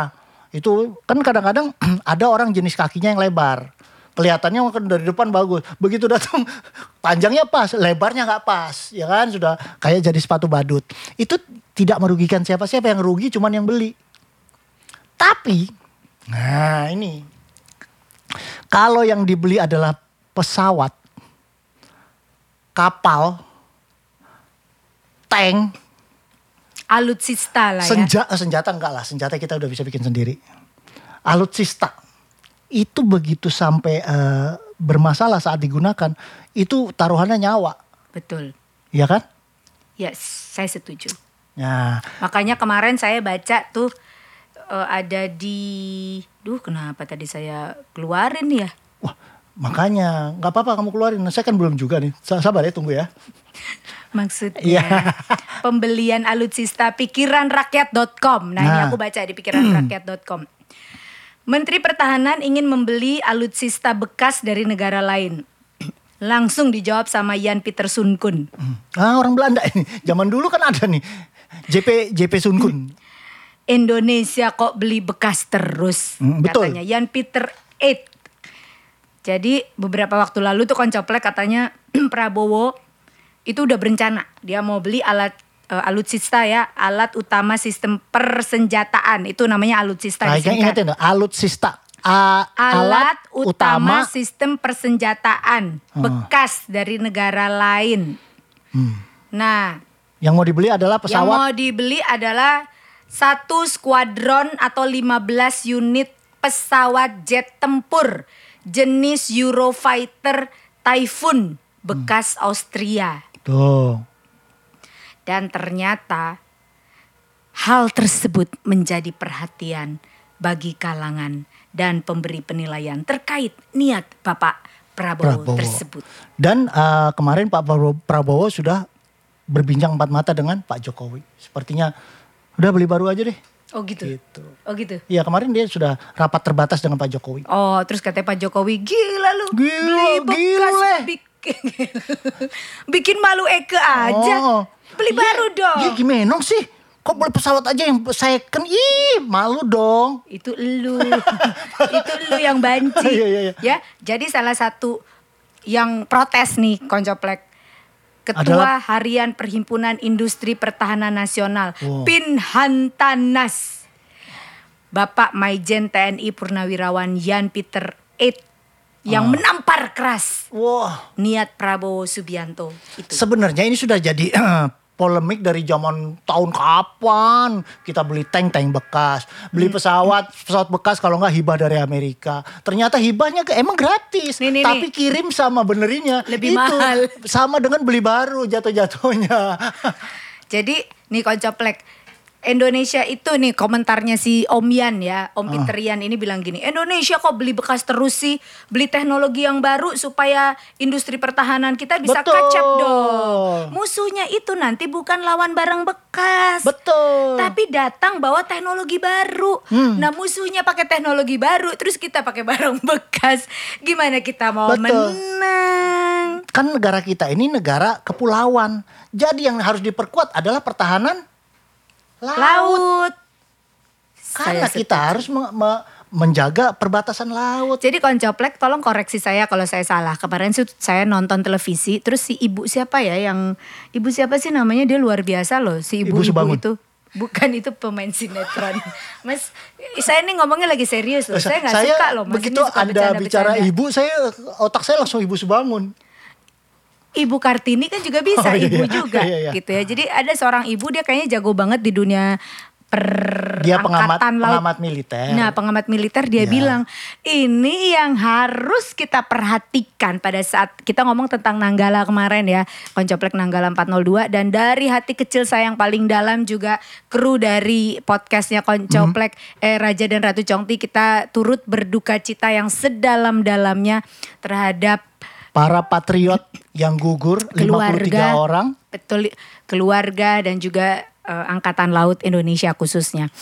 [SPEAKER 2] itu kan kadang-kadang ada orang jenis kakinya yang lebar kelihatannya mungkin dari depan bagus begitu datang panjangnya pas lebarnya nggak pas ya kan sudah kayak jadi sepatu badut itu tidak merugikan siapa-siapa yang rugi cuman yang beli tapi nah ini kalau yang dibeli adalah pesawat kapal tank
[SPEAKER 1] Alutsista lah ya.
[SPEAKER 2] Senja- eh, senjata enggak lah, senjata kita udah bisa bikin sendiri. Alutsista itu begitu sampai eh, bermasalah saat digunakan, itu taruhannya nyawa,
[SPEAKER 1] Betul.
[SPEAKER 2] ya kan?
[SPEAKER 1] Yes, saya setuju.
[SPEAKER 2] Nah,
[SPEAKER 1] Makanya kemarin saya baca tuh eh, ada di duh kenapa tadi saya keluarin ya?
[SPEAKER 2] wah makanya nggak apa-apa kamu keluarin. Saya kan belum juga nih. Sa- Sabar ya, tunggu ya.
[SPEAKER 1] Maksudnya
[SPEAKER 2] Iya.
[SPEAKER 1] pembelian alutsista pikiranrakyat.com. Nah, ini
[SPEAKER 2] Nah.
[SPEAKER 1] aku baca di pikiranrakyat.com. Menteri Pertahanan ingin membeli alutsista bekas dari negara lain. Langsung dijawab sama Yan Peter Sunkun.
[SPEAKER 2] Ah, orang Belanda ini. Zaman dulu kan ada nih. JP JP
[SPEAKER 1] Hmm.
[SPEAKER 2] Sunkun.
[SPEAKER 1] Indonesia kok beli bekas terus
[SPEAKER 2] Hmm, betul.
[SPEAKER 1] katanya Yan Peter Eight. Jadi beberapa waktu lalu tuh koncoplek katanya Prabowo itu udah berencana dia mau beli alat eh, alutsista ya alat utama sistem persenjataan itu namanya alutsista
[SPEAKER 2] Nah, yang
[SPEAKER 1] disingkat.
[SPEAKER 2] ingetin tuh, alutsista. A-
[SPEAKER 1] kan? alat utama sistem persenjataan
[SPEAKER 2] Ah.
[SPEAKER 1] bekas dari negara lain nah
[SPEAKER 2] Hmm. yang mau dibeli adalah
[SPEAKER 1] yang
[SPEAKER 2] pesawat
[SPEAKER 1] mau dibeli adalah satu skuadron atau 15 unit pesawat jet tempur jenis Eurofighter Typhoon
[SPEAKER 2] Hmm.
[SPEAKER 1] bekas Austria.
[SPEAKER 2] tuh
[SPEAKER 1] Dan ternyata hal tersebut menjadi perhatian bagi kalangan dan pemberi penilaian terkait niat Bapak Prabowo,
[SPEAKER 2] Prabowo.
[SPEAKER 1] tersebut.
[SPEAKER 2] Dan eh, kemarin Pak Prabowo- Prabowo sudah berbincang empat mata dengan Pak Jokowi. Sepertinya udah beli baru aja deh.
[SPEAKER 1] Oh gitu.
[SPEAKER 2] Gitu.
[SPEAKER 1] Oh gitu.
[SPEAKER 2] Iya kemarin dia sudah rapat terbatas dengan Pak Jokowi.
[SPEAKER 1] Oh, terus katanya Pak Jokowi, gila lu.
[SPEAKER 2] Gila, eh." gile."
[SPEAKER 1] bikin, bikin malu Eke aja.
[SPEAKER 2] Oh.
[SPEAKER 1] Beli
[SPEAKER 2] Iya,
[SPEAKER 1] baru dong.
[SPEAKER 2] Iya gimana sih? Kok beli pesawat aja yang second? Ih malu dong.
[SPEAKER 1] Itu lu. Itu lu yang banci.
[SPEAKER 2] Iya, iya, iya.
[SPEAKER 1] Ya, jadi salah satu yang protes nih koncoplek Ketua
[SPEAKER 2] Adalah-
[SPEAKER 1] Harian Perhimpunan Industri Pertahanan Nasional,
[SPEAKER 2] Wow.
[SPEAKER 1] Pinhantanas. Bapak Maijen TNI Purnawirawan Yan Peter Eid
[SPEAKER 2] Ah.
[SPEAKER 1] yang menampar keras
[SPEAKER 2] Wah
[SPEAKER 1] niat Prabowo Subianto itu.
[SPEAKER 2] sebenarnya ini sudah jadi eh, polemik dari zaman tahun kapan kita beli tank tank bekas, beli
[SPEAKER 1] Hmm.
[SPEAKER 2] pesawat pesawat bekas kalau nggak hibah dari Amerika. Ternyata hibahnya ke, emang gratis,
[SPEAKER 1] Nih, nih, nih.
[SPEAKER 2] tapi kirim sama benerinya
[SPEAKER 1] Lebih mahal.
[SPEAKER 2] sama dengan beli baru jatuh-jatuhnya.
[SPEAKER 1] Jadi nih koncoplek Indonesia itu nih komentarnya si Om Yan ya,
[SPEAKER 2] Ah.
[SPEAKER 1] Om Peter Yan ini bilang gini, Indonesia kok beli bekas terus sih, beli teknologi yang baru supaya industri pertahanan kita bisa
[SPEAKER 2] Betul.
[SPEAKER 1] kacap dong. Musuhnya itu nanti bukan lawan barang bekas.
[SPEAKER 2] Betul.
[SPEAKER 1] Tapi datang bawa teknologi baru.
[SPEAKER 2] Hmm.
[SPEAKER 1] Nah musuhnya pakai teknologi baru, terus kita pakai barang bekas. Gimana kita mau
[SPEAKER 2] Betul.
[SPEAKER 1] menang?
[SPEAKER 2] kan negara kita ini negara kepulauan. Jadi yang harus diperkuat adalah pertahanan laut.
[SPEAKER 1] laut.
[SPEAKER 2] Karena
[SPEAKER 1] Saya
[SPEAKER 2] kita harus me- me- menjaga perbatasan laut.
[SPEAKER 1] Jadi koncoplek tolong koreksi saya kalau saya salah. Kemarin sih saya nonton televisi terus si ibu siapa ya yang ibu siapa sih namanya dia luar biasa loh si ibu
[SPEAKER 2] Ibu
[SPEAKER 1] ibu,
[SPEAKER 2] Subangun.
[SPEAKER 1] itu. Bukan itu pemain sinetron. Mas, saya ini ngomongnya lagi serius loh. Saya nggak suka loh. Mas, ini
[SPEAKER 2] begitu
[SPEAKER 1] suka
[SPEAKER 2] Anda bicara
[SPEAKER 1] bercanda-bercanda.
[SPEAKER 2] ibu, saya otak saya langsung ibu Subangun.
[SPEAKER 1] Ibu Kartini kan juga bisa,
[SPEAKER 2] Oh, iya,
[SPEAKER 1] ibu
[SPEAKER 2] iya.
[SPEAKER 1] juga
[SPEAKER 2] Iya, iya.
[SPEAKER 1] gitu ya. Jadi ada seorang ibu dia kayaknya jago banget di dunia per
[SPEAKER 2] Dia pengamat
[SPEAKER 1] angkatan laut.
[SPEAKER 2] pengamat militer.
[SPEAKER 1] Nah, pengamat militer dia
[SPEAKER 2] Ya.
[SPEAKER 1] bilang, ini yang harus kita perhatikan pada saat kita ngomong tentang Nanggala kemarin ya, Koncoplek Nanggala 402 dan dari hati kecil saya yang paling dalam juga kru dari podcastnya Koncoplek
[SPEAKER 2] Mhm.
[SPEAKER 1] eh, Raja dan Ratu Congti kita turut berduka cita yang sedalam-dalamnya terhadap
[SPEAKER 2] Para patriot yang gugur 53
[SPEAKER 1] keluarga
[SPEAKER 2] orang.
[SPEAKER 1] betul keluarga dan juga eh, angkatan laut Indonesia khususnya.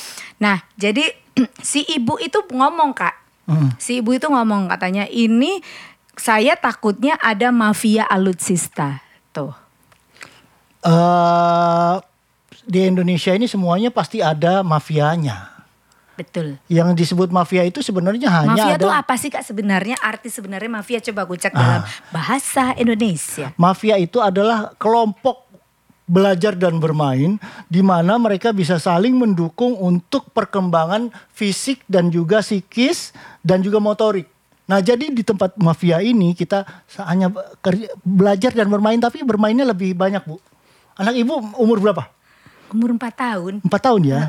[SPEAKER 1] Nah, jadi si ibu itu ngomong Kak.
[SPEAKER 2] Hmm.
[SPEAKER 1] Si ibu itu ngomong katanya ini saya takutnya ada mafia alutsista. Tuh.
[SPEAKER 2] eh di Indonesia ini semuanya pasti ada mafianya.
[SPEAKER 1] Betul.
[SPEAKER 2] Yang disebut mafia itu sebenarnya hanya
[SPEAKER 1] Mafia
[SPEAKER 2] ada
[SPEAKER 1] itu
[SPEAKER 2] Ah.
[SPEAKER 1] apa sih Kak sebenarnya? Arti sebenarnya mafia coba gue cek dalam bahasa Indonesia.
[SPEAKER 2] Mafia itu adalah kelompok belajar dan bermain di mana mereka bisa saling mendukung untuk perkembangan fisik dan juga psikis dan juga motorik. Nah, jadi di tempat mafia ini kita hanya kerja- belajar dan bermain tapi bermainnya lebih banyak, Bu. Anak Ibu umur berapa?
[SPEAKER 1] Umur 4 tahun
[SPEAKER 2] Empat tahun ya.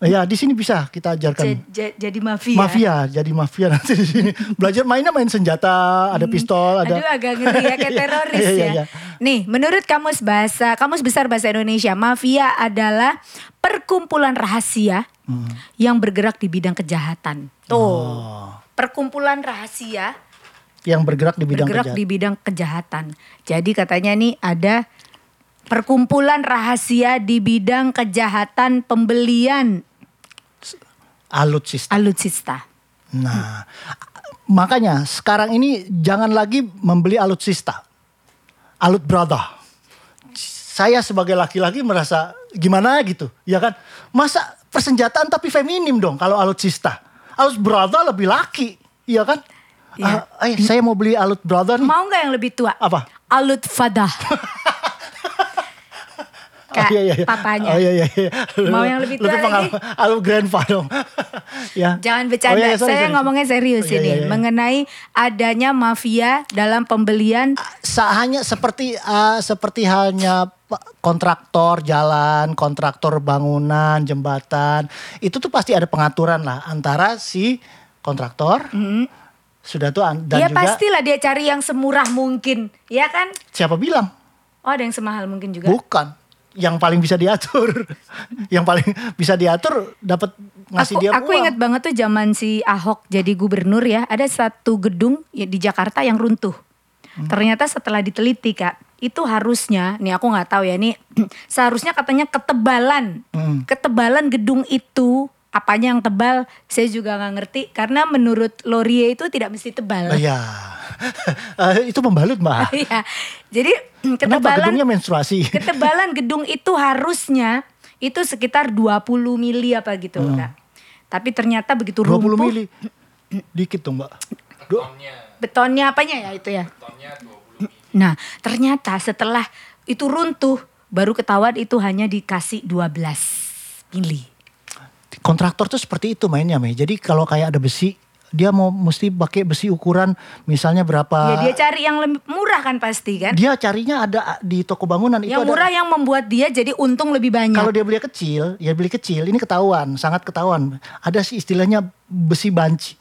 [SPEAKER 2] Ya, di sini bisa kita ajarkan.
[SPEAKER 1] ja- ja- jadi ya. mafia.
[SPEAKER 2] Mafia, jadi mafia nanti di sini. Belajar mainnya main senjata, ada pistol, ada
[SPEAKER 1] Hmm. Aduh agak ngeri ya kayak
[SPEAKER 2] Iya,
[SPEAKER 1] teroris
[SPEAKER 2] iya,
[SPEAKER 1] ya.
[SPEAKER 2] iya.
[SPEAKER 1] Nih, menurut Kamus Bahasa, Kamus Besar Bahasa Indonesia, mafia adalah perkumpulan rahasia
[SPEAKER 2] Hmm.
[SPEAKER 1] yang bergerak di bidang kejahatan. Tuh.
[SPEAKER 2] Oh.
[SPEAKER 1] Perkumpulan rahasia
[SPEAKER 2] yang bergerak di bidang
[SPEAKER 1] bergerak
[SPEAKER 2] kerja.
[SPEAKER 1] di bidang kejahatan. Jadi katanya nih ada perkumpulan rahasia di bidang kejahatan pembelian
[SPEAKER 2] alutsista.
[SPEAKER 1] alutsista.
[SPEAKER 2] Nah, makanya sekarang ini jangan lagi membeli alutsista. Alut berada. Saya sebagai laki-laki merasa gimana gitu, ya kan? Masa persenjataan tapi feminim dong kalau alutsista. Alut berada lebih laki, ya kan?
[SPEAKER 1] Iya.
[SPEAKER 2] Ah, eh, saya mau beli alut berada nih.
[SPEAKER 1] Mau nggak yang lebih tua?
[SPEAKER 2] Apa?
[SPEAKER 1] Alut fadah. kakak
[SPEAKER 2] iya, iya, iya.
[SPEAKER 1] papanya.
[SPEAKER 2] Oh iya iya. iya.
[SPEAKER 1] Mau yang lebih tua
[SPEAKER 2] lebih
[SPEAKER 1] lagi?
[SPEAKER 2] pengalaman- Aku grandpa dong. ya.
[SPEAKER 1] Jangan bercanda,
[SPEAKER 2] Oh, iya, sorry,
[SPEAKER 1] saya
[SPEAKER 2] sorry.
[SPEAKER 1] ngomongnya serius
[SPEAKER 2] Oh, iya,
[SPEAKER 1] ini
[SPEAKER 2] iya, iya.
[SPEAKER 1] mengenai adanya mafia dalam pembelian
[SPEAKER 2] Sa- hanya seperti eh, seperti halnya pe- kontraktor jalan, kontraktor bangunan, jembatan, itu tuh pasti ada pengaturan lah antara si kontraktor
[SPEAKER 1] Mm-hmm.
[SPEAKER 2] sudah tuh an- dan
[SPEAKER 1] Dia
[SPEAKER 2] juga
[SPEAKER 1] pastilah dia cari yang semurah mungkin, ya kan?
[SPEAKER 2] siapa bilang
[SPEAKER 1] Oh, ada yang semahal mungkin juga.
[SPEAKER 2] bukan yang paling bisa diatur, yang paling bisa diatur dapat ngasih
[SPEAKER 1] aku
[SPEAKER 2] dia
[SPEAKER 1] aku
[SPEAKER 2] uang.
[SPEAKER 1] inget banget tuh zaman si Ahok jadi gubernur ya, ada satu gedung ya di Jakarta yang runtuh.
[SPEAKER 2] Hmm.
[SPEAKER 1] Ternyata setelah diteliti kak, itu harusnya, nih aku nggak tahu ya, nih seharusnya katanya ketebalan,
[SPEAKER 2] Hmm.
[SPEAKER 1] ketebalan gedung itu apanya yang tebal, saya juga nggak ngerti karena menurut Lorie itu tidak mesti tebal.
[SPEAKER 2] Oh, Iya. Eh, itu membalut mbak.
[SPEAKER 1] Iya. Jadi
[SPEAKER 2] Kenapa
[SPEAKER 1] ketebalan
[SPEAKER 2] gedungnya menstruasi?
[SPEAKER 1] ketebalan gedung itu harusnya itu sekitar 20 mili apa gitu Kak. Tapi ternyata begitu
[SPEAKER 2] 20
[SPEAKER 1] rumpuh
[SPEAKER 2] Hmm. mili. Dikit dong mbak. Duh,
[SPEAKER 3] Tonnya,
[SPEAKER 1] betonnya apanya ya itu ya.
[SPEAKER 3] tonnya 20 mili.
[SPEAKER 1] Nah, ternyata setelah itu runtuh baru ketahuan itu hanya dikasih 12 mili.
[SPEAKER 2] kontraktor tuh seperti itu mainnya Mei. Jadi kalau kayak ada besi, dia mau mesti pakai besi ukuran misalnya
[SPEAKER 1] ya
[SPEAKER 2] berapa.
[SPEAKER 1] dia cari yang lebih murah kan pasti kan?
[SPEAKER 2] dia carinya ada di toko bangunan itu
[SPEAKER 1] yang
[SPEAKER 2] ada.
[SPEAKER 1] murah yang membuat dia jadi untung lebih banyak.
[SPEAKER 2] Kalau dia beli kecil, ya beli kecil. Ini ketahuan, sangat ketahuan. Ada sih istilahnya besi banci.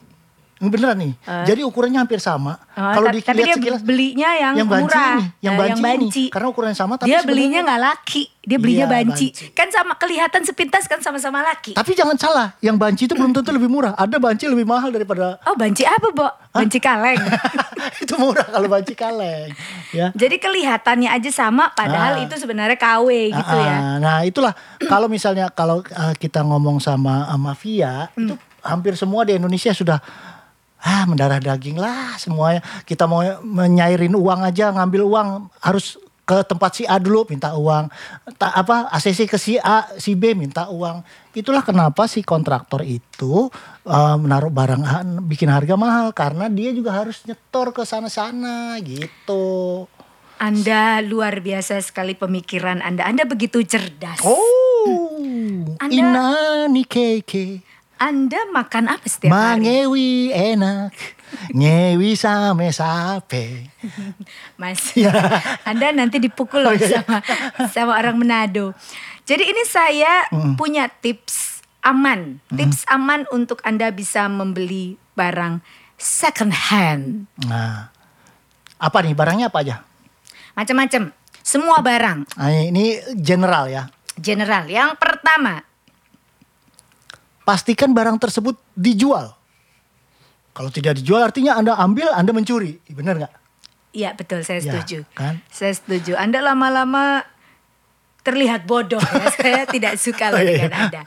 [SPEAKER 2] Ini Beneran nih. Jadi ukurannya hampir sama.
[SPEAKER 1] Oh,
[SPEAKER 2] kalau
[SPEAKER 1] ta- Eh.
[SPEAKER 2] dilihat
[SPEAKER 1] tapi dia
[SPEAKER 2] sekilas
[SPEAKER 1] belinya yang,
[SPEAKER 2] banci
[SPEAKER 1] murah,
[SPEAKER 2] ini, yang,
[SPEAKER 1] Eh,
[SPEAKER 2] banci ini. Karena ukurannya sama tapi
[SPEAKER 1] dia
[SPEAKER 2] sebenarnya-
[SPEAKER 1] belinya nggak laki, dia belinya
[SPEAKER 2] Iya,
[SPEAKER 1] banci.
[SPEAKER 2] banci.
[SPEAKER 1] Kan sama kelihatan sepintas kan sama-sama laki.
[SPEAKER 2] Tapi jangan salah, yang banci itu belum tentu lebih murah. Ada banci lebih mahal daripada
[SPEAKER 1] Oh banci apa, Bo? Banci kaleng.
[SPEAKER 2] itu murah kalau banci kaleng, ya.
[SPEAKER 1] Jadi kelihatannya aja sama, padahal
[SPEAKER 2] Ah.
[SPEAKER 1] itu sebenarnya KW gitu ya.
[SPEAKER 2] Ah, Nah, itulah kalau misalnya kalau eh, kita ngomong sama eh, mafia,
[SPEAKER 1] Hmm.
[SPEAKER 2] itu hampir semua di Indonesia sudah ah mendarah daging lah semuanya. Kita mau menyairin uang aja, ngambil uang harus ke tempat si A dulu minta uang. Ta- apa ACC ke si A, si B minta uang. Itulah kenapa si kontraktor itu eh, menaruh barang ha- bikin harga mahal karena dia juga harus nyetor ke sana-sana gitu.
[SPEAKER 1] Anda luar biasa sekali pemikiran Anda. Anda begitu cerdas.
[SPEAKER 2] Oh,
[SPEAKER 1] Anda-
[SPEAKER 2] Inani keke,
[SPEAKER 1] Anda makan apa setiap hari?
[SPEAKER 2] mangewi enak, ngewi same sape.
[SPEAKER 1] Mas,
[SPEAKER 2] Ya.
[SPEAKER 1] Anda nanti dipukul loh sama sama orang Manado. Jadi ini saya punya tips aman, tips aman untuk Anda bisa membeli barang second hand.
[SPEAKER 2] Nah, apa nih barangnya apa aja?
[SPEAKER 1] Macam-macam, semua barang
[SPEAKER 2] Nah, ini general ya.
[SPEAKER 1] general. Yang pertama,
[SPEAKER 2] Pastikan barang tersebut dijual. Kalau tidak dijual artinya Anda ambil, Anda mencuri. Benar nggak?
[SPEAKER 1] iya betul saya
[SPEAKER 2] Ya,
[SPEAKER 1] setuju.
[SPEAKER 2] kan?
[SPEAKER 1] Saya setuju. Anda lama-lama terlihat bodoh ya. Saya tidak suka loh
[SPEAKER 2] Oh, iya,
[SPEAKER 1] dengan
[SPEAKER 2] iya.
[SPEAKER 1] Anda.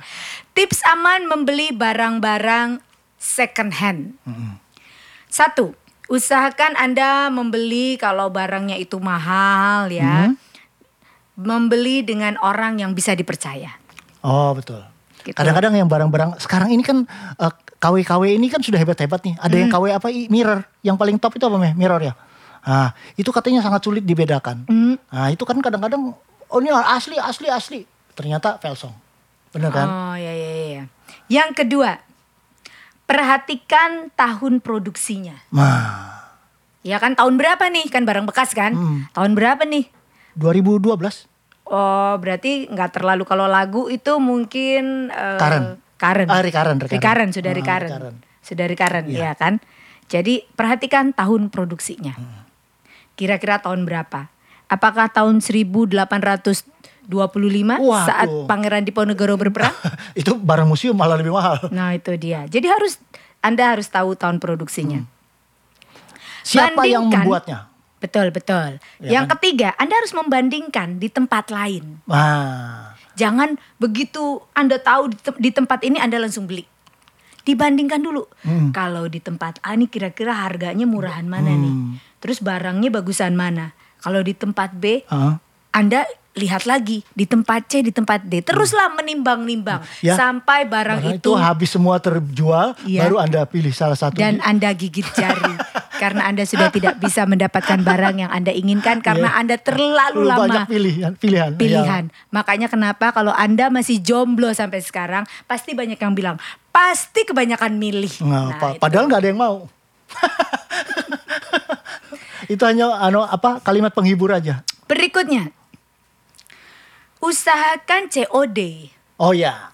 [SPEAKER 1] Tips aman membeli barang-barang second hand. Satu, usahakan Anda membeli kalau barangnya itu mahal ya.
[SPEAKER 2] Mm-hmm.
[SPEAKER 1] Membeli dengan orang yang bisa dipercaya.
[SPEAKER 2] Oh betul.
[SPEAKER 1] Gitu.
[SPEAKER 2] Kadang-kadang yang barang-barang sekarang ini kan eh, KW-KW ini kan sudah hebat-hebat nih. Ada yang KW apa I- mirror, yang paling top itu apa Meh? Mirror ya. Nah, itu katanya sangat sulit dibedakan.
[SPEAKER 1] Mm.
[SPEAKER 2] Nah, itu kan kadang-kadang oh ini asli asli asli. Ternyata Velsong. Bener kan?
[SPEAKER 1] Oh ya ya ya. Yang kedua, perhatikan tahun produksinya.
[SPEAKER 2] Nah,
[SPEAKER 1] Ya kan tahun berapa nih kan barang bekas kan?
[SPEAKER 2] Hmm.
[SPEAKER 1] Tahun berapa nih?
[SPEAKER 2] 2012
[SPEAKER 1] Oh berarti nggak terlalu kalau lagu itu mungkin eh,
[SPEAKER 2] Karen.
[SPEAKER 1] Karen.
[SPEAKER 2] Ah, Rikaren, Rikaren.
[SPEAKER 1] Rikaren, sudah
[SPEAKER 2] Ah, Iya.
[SPEAKER 1] Rikaren.
[SPEAKER 2] Rikaren.
[SPEAKER 1] Sudah Rikaren, ya kan? Jadi perhatikan tahun produksinya.
[SPEAKER 2] Hmm.
[SPEAKER 1] Kira-kira tahun berapa? Apakah tahun 1825
[SPEAKER 2] Waduh.
[SPEAKER 1] saat Pangeran Diponegoro berperang?
[SPEAKER 2] itu barang museum malah lebih mahal.
[SPEAKER 1] nah, itu dia. Jadi harus Anda harus tahu tahun produksinya.
[SPEAKER 2] Hmm. Siapa yang
[SPEAKER 1] Bandingkan.
[SPEAKER 2] membuatnya?
[SPEAKER 1] Betul, betul.
[SPEAKER 2] Ya
[SPEAKER 1] yang ketiga, Anda harus membandingkan di tempat lain.
[SPEAKER 2] Nah,
[SPEAKER 1] Jangan begitu Anda tahu di, tem- di tempat ini Anda langsung beli. Dibandingkan dulu. Kalau di tempat A ini kira-kira harganya murahan mana nih? Terus barangnya bagusan mana? Kalau di tempat B,
[SPEAKER 2] ah.
[SPEAKER 1] Anda lihat lagi di tempat C, di tempat D. Teruslah menimbang-nimbang
[SPEAKER 2] Ya.
[SPEAKER 1] sampai barang
[SPEAKER 2] Barang
[SPEAKER 1] itu
[SPEAKER 2] itu habis semua terjual,
[SPEAKER 1] Iya.
[SPEAKER 2] baru Anda pilih salah satu
[SPEAKER 1] dan
[SPEAKER 2] di-
[SPEAKER 1] Anda gigit jari karena Anda sudah tidak bisa mendapatkan barang yang Anda inginkan karena Anda terlalu
[SPEAKER 2] Lu banyak
[SPEAKER 1] lama
[SPEAKER 2] pilihan, pilihan. Iya.
[SPEAKER 1] pilihan. Makanya kenapa kalau Anda masih jomblo sampai sekarang, pasti banyak yang bilang, pasti kebanyakan milih.
[SPEAKER 2] Nah,
[SPEAKER 1] Nah,
[SPEAKER 2] pa-
[SPEAKER 1] itu.
[SPEAKER 2] padahal nggak ada yang mau. itu hanya ano apa kalimat penghibur aja.
[SPEAKER 1] Berikutnya. Usahakan COD.
[SPEAKER 2] Oh ya,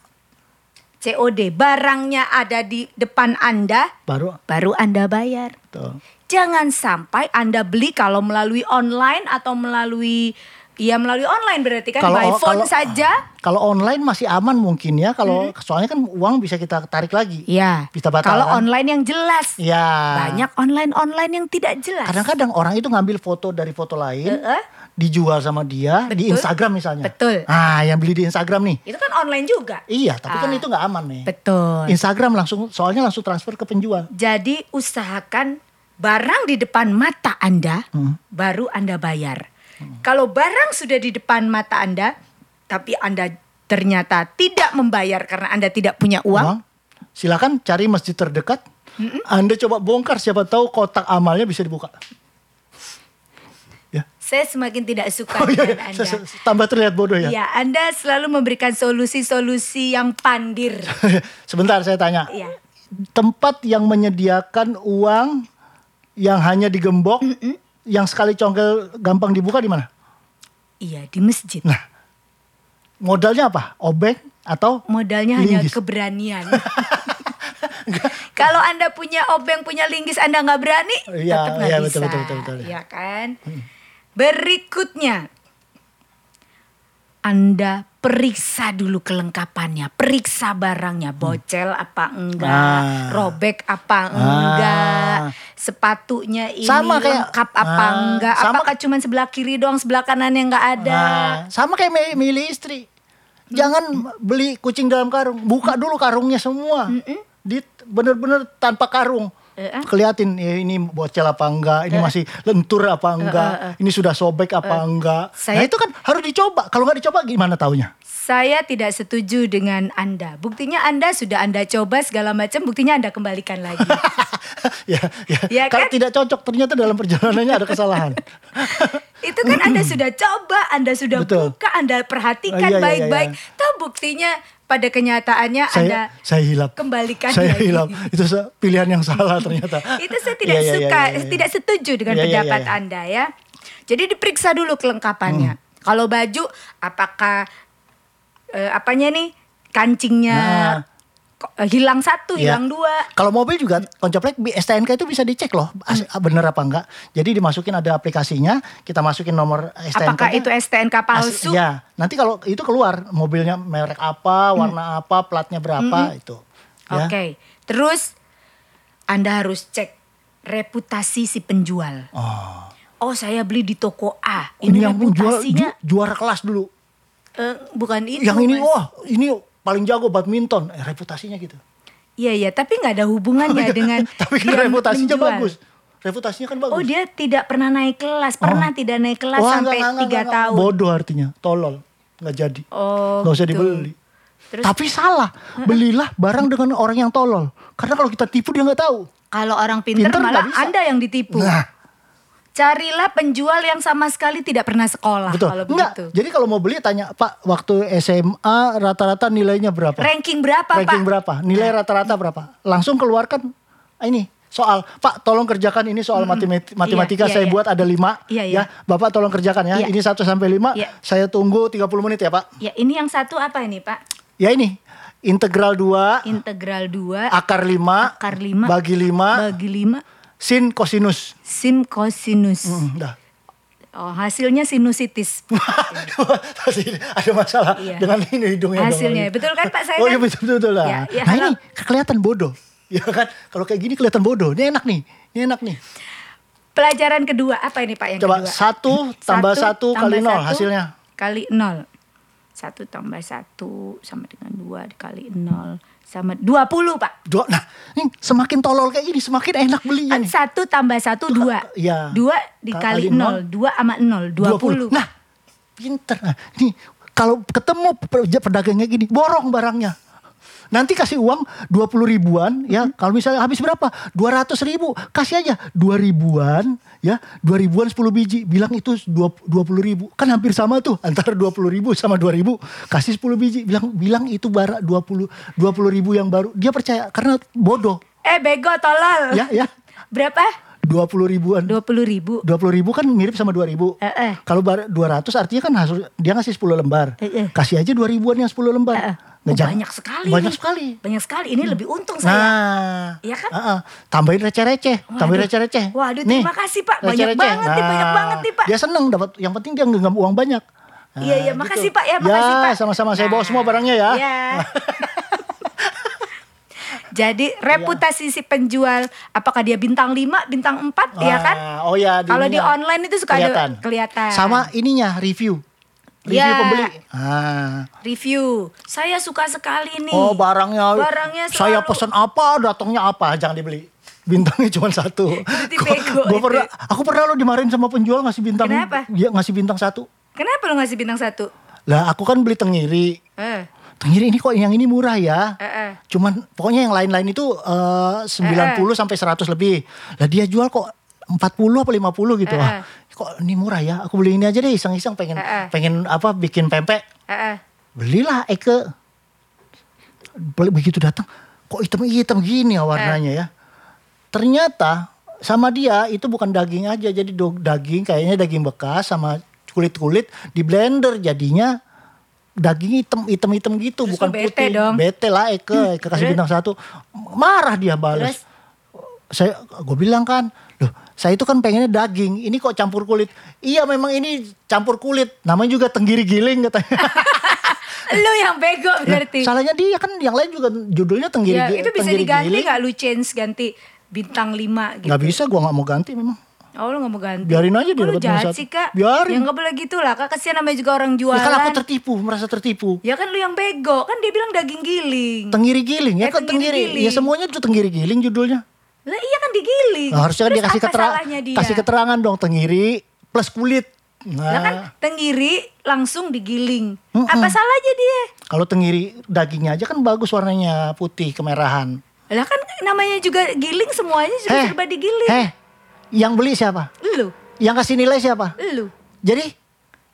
[SPEAKER 1] COD, barangnya ada di depan Anda,
[SPEAKER 2] baru
[SPEAKER 1] baru Anda bayar.
[SPEAKER 2] tuh.
[SPEAKER 1] Jangan sampai Anda beli kalau melalui online atau melalui ya melalui online berarti kan by phone
[SPEAKER 2] kalau-
[SPEAKER 1] saja.
[SPEAKER 2] Kalau online masih aman mungkin ya. Kalau
[SPEAKER 1] Hmm.
[SPEAKER 2] soalnya kan uang bisa kita tarik lagi.
[SPEAKER 1] Ya.
[SPEAKER 2] Bisa batal.
[SPEAKER 1] Kalau
[SPEAKER 2] kan?
[SPEAKER 1] online yang jelas.
[SPEAKER 2] Ya.
[SPEAKER 1] Banyak online-online yang tidak jelas.
[SPEAKER 2] Kadang-kadang orang itu ngambil foto dari foto lain,
[SPEAKER 1] Heeh.
[SPEAKER 2] dijual sama dia di
[SPEAKER 1] Betul.
[SPEAKER 2] Instagram misalnya.
[SPEAKER 1] Betul.
[SPEAKER 2] Ah, yang beli di Instagram nih.
[SPEAKER 1] Itu kan online juga.
[SPEAKER 2] Iya, tapi kan
[SPEAKER 1] Ah.
[SPEAKER 2] itu nggak aman nih.
[SPEAKER 1] Betul.
[SPEAKER 2] Instagram langsung soalnya langsung transfer ke penjual.
[SPEAKER 1] Jadi usahakan barang di depan mata Anda
[SPEAKER 2] Hmm.
[SPEAKER 1] baru Anda bayar. Kalau barang sudah di depan mata Anda tapi Anda ternyata tidak membayar karena Anda tidak punya uang,
[SPEAKER 2] Uang. Silakan cari masjid terdekat. Anda coba bongkar siapa tahu kotak amalnya bisa dibuka. Ya.
[SPEAKER 1] saya semakin tidak suka
[SPEAKER 2] Oh, iya, iya.
[SPEAKER 1] dengan Anda.
[SPEAKER 2] Se- se- Tambah terlihat bodoh ya.
[SPEAKER 1] Ya, Anda selalu memberikan solusi-solusi yang pandir.
[SPEAKER 2] Sebentar saya tanya.
[SPEAKER 1] Iya.
[SPEAKER 2] Tempat yang menyediakan uang yang hanya digembok, yang sekali congkel gampang dibuka di mana?
[SPEAKER 1] Iya, di masjid.
[SPEAKER 2] Nah, modalnya apa? Obeng atau
[SPEAKER 1] Modalnya hanya
[SPEAKER 2] Linggis.
[SPEAKER 1] keberanian. Kalau Anda punya obeng, punya linggis, Anda nggak berani,
[SPEAKER 2] Iya,
[SPEAKER 1] tetap nggak
[SPEAKER 2] iya,
[SPEAKER 1] bisa.
[SPEAKER 2] betul, betul, betul, betul.
[SPEAKER 1] Iya kan? Berikutnya, Anda periksa dulu kelengkapannya, periksa barangnya, bocel apa enggak,
[SPEAKER 2] Hmm. Ah.
[SPEAKER 1] robek apa enggak, sepatunya ini
[SPEAKER 2] Sama kayak-
[SPEAKER 1] lengkap apa
[SPEAKER 2] Ah,
[SPEAKER 1] enggak,
[SPEAKER 2] sama-
[SPEAKER 1] apakah cuma sebelah kiri doang, sebelah kanan yang enggak ada.
[SPEAKER 2] Nah, sama kayak mi- milih istri. Jangan beli kucing dalam karung, buka dulu karungnya semua. Di bener-bener tanpa karung.
[SPEAKER 1] Eh,
[SPEAKER 2] Keliatin ya ini bocel apa enggak, ini masih lentur apa enggak, ini sudah sobek apa enggak.
[SPEAKER 1] Saya-
[SPEAKER 2] Nah, itu kan harus dicoba. Kalau nggak dicoba gimana taunya?
[SPEAKER 1] Saya tidak setuju dengan Anda. Buktinya Anda sudah Anda coba segala macam, buktinya Anda kembalikan lagi.
[SPEAKER 2] ya, ya.
[SPEAKER 1] Ya kan?
[SPEAKER 2] Kalau tidak cocok ternyata dalam perjalanannya ada kesalahan.
[SPEAKER 1] Itu kan Anda sudah coba, Anda sudah
[SPEAKER 2] Betul.
[SPEAKER 1] buka, Anda perhatikan
[SPEAKER 2] Oh, iya, iya,
[SPEAKER 1] baik-baik. Tahu buktinya pada kenyataannya Anda
[SPEAKER 2] saya saya hilap.
[SPEAKER 1] kembalikan
[SPEAKER 2] Saya
[SPEAKER 1] lagi.
[SPEAKER 2] hilap. Itu se- pilihan yang salah ternyata.
[SPEAKER 1] Itu saya tidak
[SPEAKER 2] Iya, iya, iya,
[SPEAKER 1] suka,
[SPEAKER 2] iya, iya.
[SPEAKER 1] tidak setuju dengan
[SPEAKER 2] Iya, iya,
[SPEAKER 1] pendapat
[SPEAKER 2] iya, Hmm. iya.
[SPEAKER 1] Anda ya. Jadi diperiksa dulu kelengkapannya. Kalau baju apakah eh, apanya nih kancingnya
[SPEAKER 2] Nah.
[SPEAKER 1] ko- eh, hilang satu,
[SPEAKER 2] Iya.
[SPEAKER 1] hilang dua.
[SPEAKER 2] Kalau mobil juga koncoplek bi- STNK itu bisa dicek loh, as-
[SPEAKER 1] Hmm.
[SPEAKER 2] bener apa enggak. Jadi dimasukin ada aplikasinya, kita masukin nomor STNK.
[SPEAKER 1] Apakah itu STNK palsu?
[SPEAKER 2] Ya, nanti kalau itu keluar mobilnya merek apa, warna apa, platnya berapa itu.
[SPEAKER 1] Hmm.
[SPEAKER 2] Ya.
[SPEAKER 1] Oke, terus Anda harus cek reputasi si penjual. Oh. saya beli di toko A.
[SPEAKER 2] Ini, Oh, yang juara,
[SPEAKER 1] reputasinya
[SPEAKER 2] ju- juara kelas dulu.
[SPEAKER 1] eh, bukan itu.
[SPEAKER 2] yang ini
[SPEAKER 1] Mas.
[SPEAKER 2] oh. wah, ini paling jago badminton, eh, reputasinya gitu.
[SPEAKER 1] Iya iya, tapi nggak ada hubungannya dengan
[SPEAKER 2] Tapi
[SPEAKER 1] dia
[SPEAKER 2] kan reputasinya
[SPEAKER 1] menjual.
[SPEAKER 2] bagus. Oh. Reputasinya kan bagus.
[SPEAKER 1] Oh, dia tidak pernah naik kelas, pernah tidak naik kelas
[SPEAKER 2] Wah,
[SPEAKER 1] sampai
[SPEAKER 2] enggak,
[SPEAKER 1] tiga
[SPEAKER 2] enggak, enggak, enggak.
[SPEAKER 1] tahun.
[SPEAKER 2] Bodoh artinya, tolol, nggak jadi.
[SPEAKER 1] Oh,
[SPEAKER 2] nggak usah
[SPEAKER 1] gitu.
[SPEAKER 2] dibeli.
[SPEAKER 1] Terus-
[SPEAKER 2] Tapi salah, belilah barang dengan orang yang tolol. Karena kalau kita tipu dia nggak tahu.
[SPEAKER 1] Kalau orang pintar
[SPEAKER 2] Pinter nggak
[SPEAKER 1] malah
[SPEAKER 2] bisa.
[SPEAKER 1] Anda yang ditipu.
[SPEAKER 2] Nah,
[SPEAKER 1] Carilah penjual yang sama sekali tidak pernah sekolah
[SPEAKER 2] betul.
[SPEAKER 1] kalau
[SPEAKER 2] Enggak.
[SPEAKER 1] begitu.
[SPEAKER 2] Jadi kalau mau beli tanya Pak, waktu SMA rata-rata nilainya berapa?
[SPEAKER 1] Ranking berapa, Nah. Pak?
[SPEAKER 2] Ranking berapa? Nilai rata-rata berapa? Langsung keluarkan ah, ini soal Pak tolong kerjakan ini soal matemati-
[SPEAKER 1] Iya,
[SPEAKER 2] matematika
[SPEAKER 1] iya,
[SPEAKER 2] saya
[SPEAKER 1] iya.
[SPEAKER 2] buat ada lima
[SPEAKER 1] Iya, iya.
[SPEAKER 2] ya Bapak tolong kerjakan ya
[SPEAKER 1] Iya.
[SPEAKER 2] ini 1 sampai 5
[SPEAKER 1] Iya.
[SPEAKER 2] saya tunggu 30 menit ya Pak
[SPEAKER 1] Ya, ini yang satu apa ini, Pak?
[SPEAKER 2] ya ini integral 2
[SPEAKER 1] Integral 2
[SPEAKER 2] akar 5
[SPEAKER 1] akar 5
[SPEAKER 2] bagi 5
[SPEAKER 1] bagi 5
[SPEAKER 2] sin kosinus
[SPEAKER 1] sin kosinus
[SPEAKER 2] Hmm, dah.
[SPEAKER 1] oh hasilnya sinusitis
[SPEAKER 2] Pasti ada masalah
[SPEAKER 1] Iya.
[SPEAKER 2] dengan ini hidungnya dong.
[SPEAKER 1] Hasilnya, betul kan, Pak, saya
[SPEAKER 2] oh iya
[SPEAKER 1] kan?
[SPEAKER 2] betul betul lah
[SPEAKER 1] Ya, ya,
[SPEAKER 2] nah
[SPEAKER 1] kalau-
[SPEAKER 2] ini kelihatan bodoh ya kan kalau kayak gini kelihatan bodoh ini enak nih ini enak nih
[SPEAKER 1] pelajaran kedua apa ini Pak yang
[SPEAKER 2] coba
[SPEAKER 1] kedua
[SPEAKER 2] satu tambah satu kali
[SPEAKER 1] tambah
[SPEAKER 2] nol
[SPEAKER 1] satu
[SPEAKER 2] hasilnya
[SPEAKER 1] kali nol satu tambah satu sama dengan dua dikali nol sama 20 Pak
[SPEAKER 2] dua nah ini semakin tolol kayak gini semakin enak belinya
[SPEAKER 1] kan
[SPEAKER 2] Iya nih
[SPEAKER 1] satu tambah satu dua
[SPEAKER 2] iya.
[SPEAKER 1] dua dikali
[SPEAKER 2] Kali nol.
[SPEAKER 1] nol dua sama nol dua puluh
[SPEAKER 2] nah pinter nah, nih kalau ketemu pe- pedagangnya gini borong barangnya Nanti kasih uang 20
[SPEAKER 1] Hmm.
[SPEAKER 2] ribuan ya. Kalau misalnya habis berapa? 200 ribu. Kasih aja 2 ribuan ya. 2 ribuan 10 biji. Bilang itu 20 ribu. Kan hampir sama tuh antara 20 ribu sama 2 ribu. Kasih 10 biji. Bilang bilang itu bara 20 20 ribu yang baru. Dia percaya karena bodoh
[SPEAKER 1] Eh bego tolol.
[SPEAKER 2] ya ya.
[SPEAKER 1] Berapa?
[SPEAKER 2] 20 ribuan.
[SPEAKER 1] 20 ribu.
[SPEAKER 2] dua puluh ribu kan mirip sama dua ribu.
[SPEAKER 1] Eh, eh.
[SPEAKER 2] Kalau dua ratus artinya kan hasil, dia ngasih 10 lembar.
[SPEAKER 1] Eh, eh.
[SPEAKER 2] Kasih aja dua ribuan yang 10 lembar.
[SPEAKER 1] Eh, eh.
[SPEAKER 2] Nah,
[SPEAKER 1] Oh,
[SPEAKER 2] jangan-
[SPEAKER 1] banyak sekali.
[SPEAKER 2] Banyak
[SPEAKER 1] nih.
[SPEAKER 2] sekali. Hmm.
[SPEAKER 1] Banyak sekali. Ini lebih untung saya.
[SPEAKER 2] Nah,
[SPEAKER 1] Iya kan?
[SPEAKER 2] eh, eh. tambahin receh-receh, tambahin receh-receh. Nah.
[SPEAKER 1] Waduh, terima kasih, Pak. Banyak banget nih, banyak banget nih, Pak.
[SPEAKER 2] Dia seneng dapat, yang penting dia genggam uang banyak. Nah,
[SPEAKER 1] Iya, iya. Makasih, Pak, ya.
[SPEAKER 2] Ya,
[SPEAKER 1] Makasih, Pak.
[SPEAKER 2] sama-sama. Saya bawa
[SPEAKER 1] Nah,
[SPEAKER 2] semua barangnya ya.
[SPEAKER 1] iya. Jadi
[SPEAKER 2] Iya.
[SPEAKER 1] reputasi si penjual, apakah dia bintang 5, bintang 4, ya
[SPEAKER 2] Ah,
[SPEAKER 1] kan?
[SPEAKER 2] Oh ya.
[SPEAKER 1] Kalau di
[SPEAKER 2] ininya
[SPEAKER 1] online itu suka
[SPEAKER 2] kelihatan.
[SPEAKER 1] ada kelihatan.
[SPEAKER 2] Sama ininya review. Review
[SPEAKER 1] Iya.
[SPEAKER 2] pembeli. Ah.
[SPEAKER 1] Review. Saya suka sekali nih.
[SPEAKER 2] Oh barangnya,
[SPEAKER 1] Barangnya
[SPEAKER 2] saya
[SPEAKER 1] selalu-
[SPEAKER 2] pesan apa datangnya apa jangan dibeli bintangnya cuma satu.
[SPEAKER 1] Berarti
[SPEAKER 2] Gua-
[SPEAKER 1] bego
[SPEAKER 2] gua
[SPEAKER 1] itu.
[SPEAKER 2] pernah, aku pernah lo dimarahin sama penjual ngasih bintang.
[SPEAKER 1] Kenapa?
[SPEAKER 2] Iya ngasih bintang satu.
[SPEAKER 1] Kenapa lu ngasih bintang 1?
[SPEAKER 2] Lah aku kan beli tengiri.
[SPEAKER 1] Eh,
[SPEAKER 2] Tengiri ini kok yang ini murah ya.
[SPEAKER 1] eh, eh.
[SPEAKER 2] Cuman pokoknya yang lain-lain itu eh, 90 sampai 100 lebih. Lah dia jual kok 40 apa 50 gitu.
[SPEAKER 1] Eh,
[SPEAKER 2] Wah, kok ini murah ya? Aku beli ini aja deh iseng-iseng
[SPEAKER 1] Eh,
[SPEAKER 2] pengen
[SPEAKER 1] eh.
[SPEAKER 2] pengen apa bikin pempek.
[SPEAKER 1] eh, eh.
[SPEAKER 2] belilah Eke Beli- begitu datang kok hitam-hitam gini ya warnanya ya ternyata sama dia itu bukan daging aja jadi do- daging kayaknya daging bekas sama kulit-kulit di blender jadinya daging hitam hitam hitam gitu
[SPEAKER 1] Terus
[SPEAKER 2] bukan
[SPEAKER 1] lu bete
[SPEAKER 2] putih
[SPEAKER 1] dong.
[SPEAKER 2] bete lah Eke Eke kasih
[SPEAKER 1] Terus?
[SPEAKER 2] bintang satu marah dia balas
[SPEAKER 1] Terus?
[SPEAKER 2] saya gue bilang kan loh saya itu kan pengennya daging ini kok campur kulit iya memang ini campur kulit namanya juga tenggiri giling katanya
[SPEAKER 1] Lu yang bego
[SPEAKER 2] Lah,
[SPEAKER 1] berarti.
[SPEAKER 2] Salahnya dia kan yang lain juga judulnya tenggiri.
[SPEAKER 1] Ya, itu bisa
[SPEAKER 2] Tenggiri
[SPEAKER 1] diganti
[SPEAKER 2] Giling.
[SPEAKER 1] nggak lu change ganti bintang 5 gitu.
[SPEAKER 2] Nggak bisa, gua nggak mau ganti memang.
[SPEAKER 1] Oh lu gak mau ganti
[SPEAKER 2] Biarin aja dia
[SPEAKER 1] Oh, Lu
[SPEAKER 2] dapat nomor
[SPEAKER 1] jahat
[SPEAKER 2] satu.
[SPEAKER 1] sih kak
[SPEAKER 2] Biarin.
[SPEAKER 1] Ya gak boleh gitu lah kak Kasian namanya juga orang jualan
[SPEAKER 2] Ya kan aku tertipu, merasa tertipu.
[SPEAKER 1] Ya kan lu yang bego Kan dia bilang daging giling
[SPEAKER 2] Tenggiri giling
[SPEAKER 1] Ya,
[SPEAKER 2] ya kan
[SPEAKER 1] Tenggiri
[SPEAKER 2] tenggiri.
[SPEAKER 1] Giling.
[SPEAKER 2] Ya semuanya itu tenggiri giling judulnya.
[SPEAKER 1] Lah iya kan digiling
[SPEAKER 2] Nah, harusnya kan
[SPEAKER 1] Terus
[SPEAKER 2] dia kasih
[SPEAKER 1] apa
[SPEAKER 2] keterangan,
[SPEAKER 1] salahnya dia?
[SPEAKER 2] kasih keterangan dong tenggiri plus kulit. Nah,
[SPEAKER 1] Lah kan tenggiri langsung digiling Apa salahnya dia
[SPEAKER 2] kalau tenggiri dagingnya aja kan bagus warnanya putih kemerahan.
[SPEAKER 1] Lah kan namanya juga giling Semuanya juga
[SPEAKER 2] Eh,
[SPEAKER 1] serba digiling
[SPEAKER 2] Eh, yang beli siapa?
[SPEAKER 1] Lu
[SPEAKER 2] Yang kasih nilai siapa?
[SPEAKER 1] Lu
[SPEAKER 2] Jadi,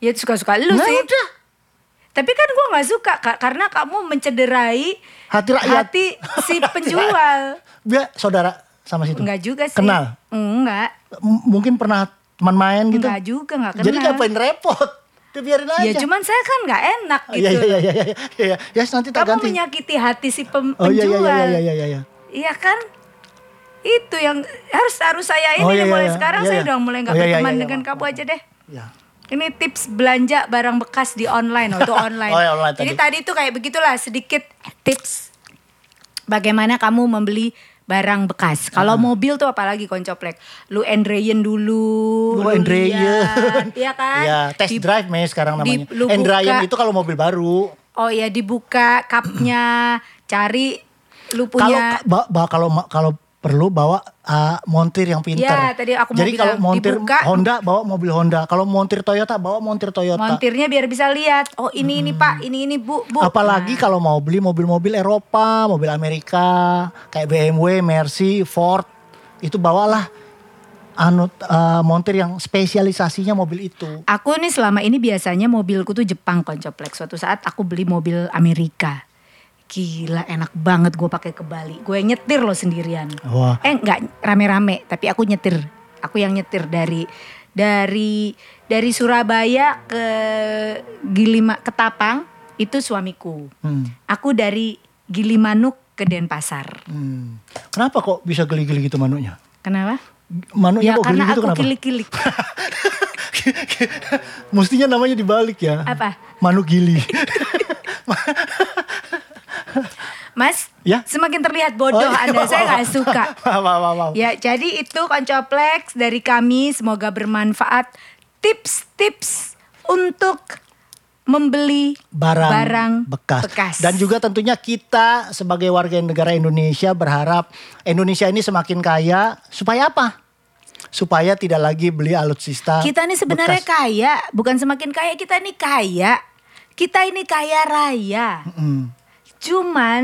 [SPEAKER 1] Ya suka-suka lu
[SPEAKER 2] Nah,
[SPEAKER 1] sih
[SPEAKER 2] udah.
[SPEAKER 1] Tapi kan gua gak suka kak Karena kamu mencederai
[SPEAKER 2] Hati rakyat.
[SPEAKER 1] Hati si penjual
[SPEAKER 2] dia saudara sama situ.
[SPEAKER 1] Enggak juga sih
[SPEAKER 2] Kenal?
[SPEAKER 1] Enggak
[SPEAKER 2] M- mungkin pernah teman main gitu.
[SPEAKER 1] Enggak juga, enggak kenal.
[SPEAKER 2] Jadi ngapain repot? Dia biarin aja.
[SPEAKER 1] Ya cuman saya kan nggak enak
[SPEAKER 2] Oh,
[SPEAKER 1] gitu.
[SPEAKER 2] Iya iya iya iya iya. iya. Ya nanti
[SPEAKER 1] Kamu
[SPEAKER 2] terganti.
[SPEAKER 1] menyakiti hati si pem-
[SPEAKER 2] Oh iya iya
[SPEAKER 1] penjual.
[SPEAKER 2] iya iya iya iya. iya.
[SPEAKER 1] Iya kan? Itu yang harus harus saya ini
[SPEAKER 2] Oh, iya,
[SPEAKER 1] nih,
[SPEAKER 2] iya,
[SPEAKER 1] mulai
[SPEAKER 2] iya.
[SPEAKER 1] sekarang
[SPEAKER 2] Iya,
[SPEAKER 1] saya
[SPEAKER 2] iya.
[SPEAKER 1] udah mulai nggak
[SPEAKER 2] Oh, iya, iya,
[SPEAKER 1] berteman
[SPEAKER 2] iya,
[SPEAKER 1] dengan
[SPEAKER 2] maaf,
[SPEAKER 1] kamu aja deh.
[SPEAKER 2] Ya.
[SPEAKER 1] Ini tips belanja barang bekas di online, oh, itu online.
[SPEAKER 2] Oh, iya, online
[SPEAKER 1] Jadi
[SPEAKER 2] tadi.
[SPEAKER 1] tadi tuh kayak begitulah sedikit tips bagaimana kamu membeli barang bekas. Kalau mobil tuh apalagi koncoplek. Lu Andreyen dulu. lu
[SPEAKER 2] Lu Andreyen.
[SPEAKER 1] lihat, Iya kan?
[SPEAKER 2] Oh, Iya, test
[SPEAKER 1] Di-
[SPEAKER 2] drive Mei sekarang
[SPEAKER 1] di-
[SPEAKER 2] namanya.
[SPEAKER 1] lu
[SPEAKER 2] Andrian
[SPEAKER 1] buka-
[SPEAKER 2] itu kalau mobil baru.
[SPEAKER 1] Oh ya dibuka cupnya, cari lu
[SPEAKER 2] Kalau
[SPEAKER 1] punya.
[SPEAKER 2] ba- ba- kalau ma- kalau perlu bawa uh, montir yang pinter.
[SPEAKER 1] Ya, tadi aku mau
[SPEAKER 2] Jadi
[SPEAKER 1] bilang,
[SPEAKER 2] kalau montir
[SPEAKER 1] dibuka.
[SPEAKER 2] Honda bawa mobil Honda, kalau montir Toyota bawa montir Toyota.
[SPEAKER 1] montirnya biar bisa lihat. Oh ini ini pak, ini ini bu Nah. bu.
[SPEAKER 2] Hmm. Apalagi kalau mau beli mobil-mobil Eropa, mobil Amerika, kayak BMW, Mercy, Ford, itu bawalah anu eh, montir yang spesialisasinya mobil itu.
[SPEAKER 1] Aku nih selama ini biasanya mobilku tuh Jepang koncoplek. Suatu saat aku beli mobil Amerika. Gila enak banget gue pakai ke Bali. Gue nyetir loh sendirian.
[SPEAKER 2] Wah.
[SPEAKER 1] Eh nggak rame-rame, tapi aku nyetir. Aku yang nyetir dari dari dari Surabaya ke Gilima ke Tapang itu suamiku.
[SPEAKER 2] Hmm,
[SPEAKER 1] Aku dari Gilimanuk ke Denpasar.
[SPEAKER 2] hmm. Kenapa kok bisa geli-geli gitu manunya?
[SPEAKER 1] Kenapa?
[SPEAKER 2] Manunya
[SPEAKER 1] Ya,
[SPEAKER 2] kok geli
[SPEAKER 1] karena
[SPEAKER 2] gitu
[SPEAKER 1] aku
[SPEAKER 2] kenapa?
[SPEAKER 1] kilik-kilik.
[SPEAKER 2] Mestinya namanya dibalik ya.
[SPEAKER 1] Apa?
[SPEAKER 2] Manu gili.
[SPEAKER 1] Mas,
[SPEAKER 2] Ya?
[SPEAKER 1] semakin terlihat bodoh
[SPEAKER 2] Oh, iya,
[SPEAKER 1] Anda. Saya
[SPEAKER 2] maaf,
[SPEAKER 1] nggak suka.
[SPEAKER 2] maaf, maaf, maaf, maaf.
[SPEAKER 1] Ya, jadi itu Koncoplex dari kami. Semoga bermanfaat. Tips-tips untuk membeli
[SPEAKER 2] barang,
[SPEAKER 1] barang
[SPEAKER 2] bekas. Dan juga tentunya kita sebagai warga negara Indonesia berharap Indonesia ini semakin kaya supaya apa? Supaya tidak lagi beli alutsista.
[SPEAKER 1] kita nih sebenarnya
[SPEAKER 2] bekas.
[SPEAKER 1] kaya, bukan semakin kaya kita nih kaya. Kita ini kaya raya.
[SPEAKER 2] Mm.
[SPEAKER 1] Cuman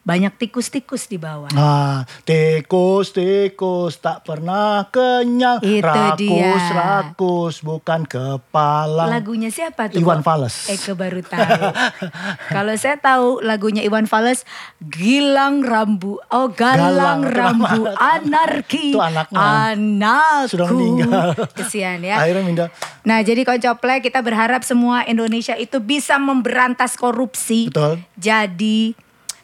[SPEAKER 1] banyak tikus-tikus di bawah.
[SPEAKER 2] Nah, tikus, tikus tak pernah kenyang.
[SPEAKER 1] Itu
[SPEAKER 2] rakus,
[SPEAKER 1] dia.
[SPEAKER 2] rakus bukan kepala.
[SPEAKER 1] Lagunya siapa tuh? Pak?
[SPEAKER 2] Iwan Fals.
[SPEAKER 1] Eke baru tahu. Kalau saya tahu lagunya Iwan Fals, Gilang Rambu. Oh, Galang,
[SPEAKER 2] Galang
[SPEAKER 1] Rambu
[SPEAKER 2] Rambu.
[SPEAKER 1] Anarki.
[SPEAKER 2] Itu anaknya.
[SPEAKER 1] Anakku.
[SPEAKER 2] Sudah meninggal.
[SPEAKER 1] Kesian ya.
[SPEAKER 2] Akhirnya pindah.
[SPEAKER 1] Nah, jadi Koncoplay kita berharap semua Indonesia itu bisa memberantas korupsi.
[SPEAKER 2] Betul.
[SPEAKER 1] Jadi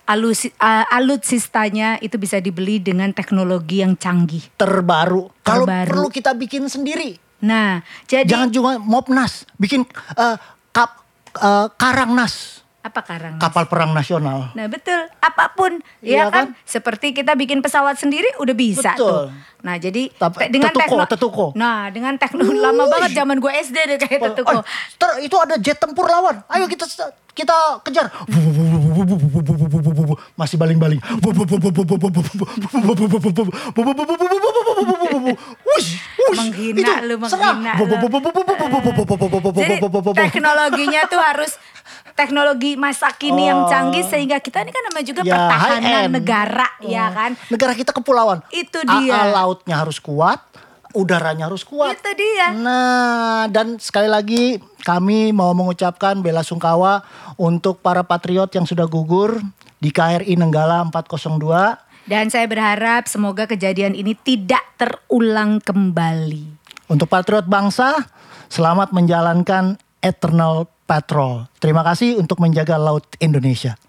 [SPEAKER 1] alusi- a- alutsistanya itu bisa dibeli dengan teknologi yang canggih.
[SPEAKER 2] Terbaru. Kalau
[SPEAKER 1] Terbaru.
[SPEAKER 2] perlu kita bikin sendiri.
[SPEAKER 1] Nah, jadi
[SPEAKER 2] Jangan cuma mopnas, bikin eh, kap eh, karangnas,
[SPEAKER 1] apa karang?
[SPEAKER 2] kapal perang nasional.
[SPEAKER 1] Nah betul, apapun ya
[SPEAKER 2] Iya
[SPEAKER 1] kan? seperti kita bikin pesawat sendiri udah bisa tuh.
[SPEAKER 2] Betul.
[SPEAKER 1] Nah jadi
[SPEAKER 2] Tap-
[SPEAKER 1] te- dengan
[SPEAKER 2] tetuko,
[SPEAKER 1] tekno-
[SPEAKER 2] tetuko.
[SPEAKER 1] Nah dengan teknologi lama banget zaman gue SD deh kayak tetuko.
[SPEAKER 2] Oh, ter- itu ada jet tempur lawan. Ayo kita kita kejar. Masih baling-baling. Wush, wush.
[SPEAKER 1] Menghina
[SPEAKER 2] Itu,
[SPEAKER 1] lu, menghina
[SPEAKER 2] serang.
[SPEAKER 1] lu. Jadi teknologinya tuh harus teknologi masa kini yang
[SPEAKER 2] Oh.
[SPEAKER 1] canggih sehingga kita ini kan namanya juga
[SPEAKER 2] Ya,
[SPEAKER 1] pertahanan
[SPEAKER 2] high end. Oh.
[SPEAKER 1] negara ya kan.
[SPEAKER 2] Negara kita kepulauan.
[SPEAKER 1] Itu dia.
[SPEAKER 2] AA lautnya harus kuat, udaranya harus kuat.
[SPEAKER 1] Itu dia.
[SPEAKER 2] Nah, dan sekali lagi kami mau mengucapkan bela sungkawa untuk para patriot yang sudah gugur di KRI Nenggala 402.
[SPEAKER 1] Dan saya berharap semoga kejadian ini tidak terulang kembali.
[SPEAKER 2] Untuk patriot bangsa, selamat menjalankan Eternal Patrol. Terima kasih untuk menjaga laut Indonesia.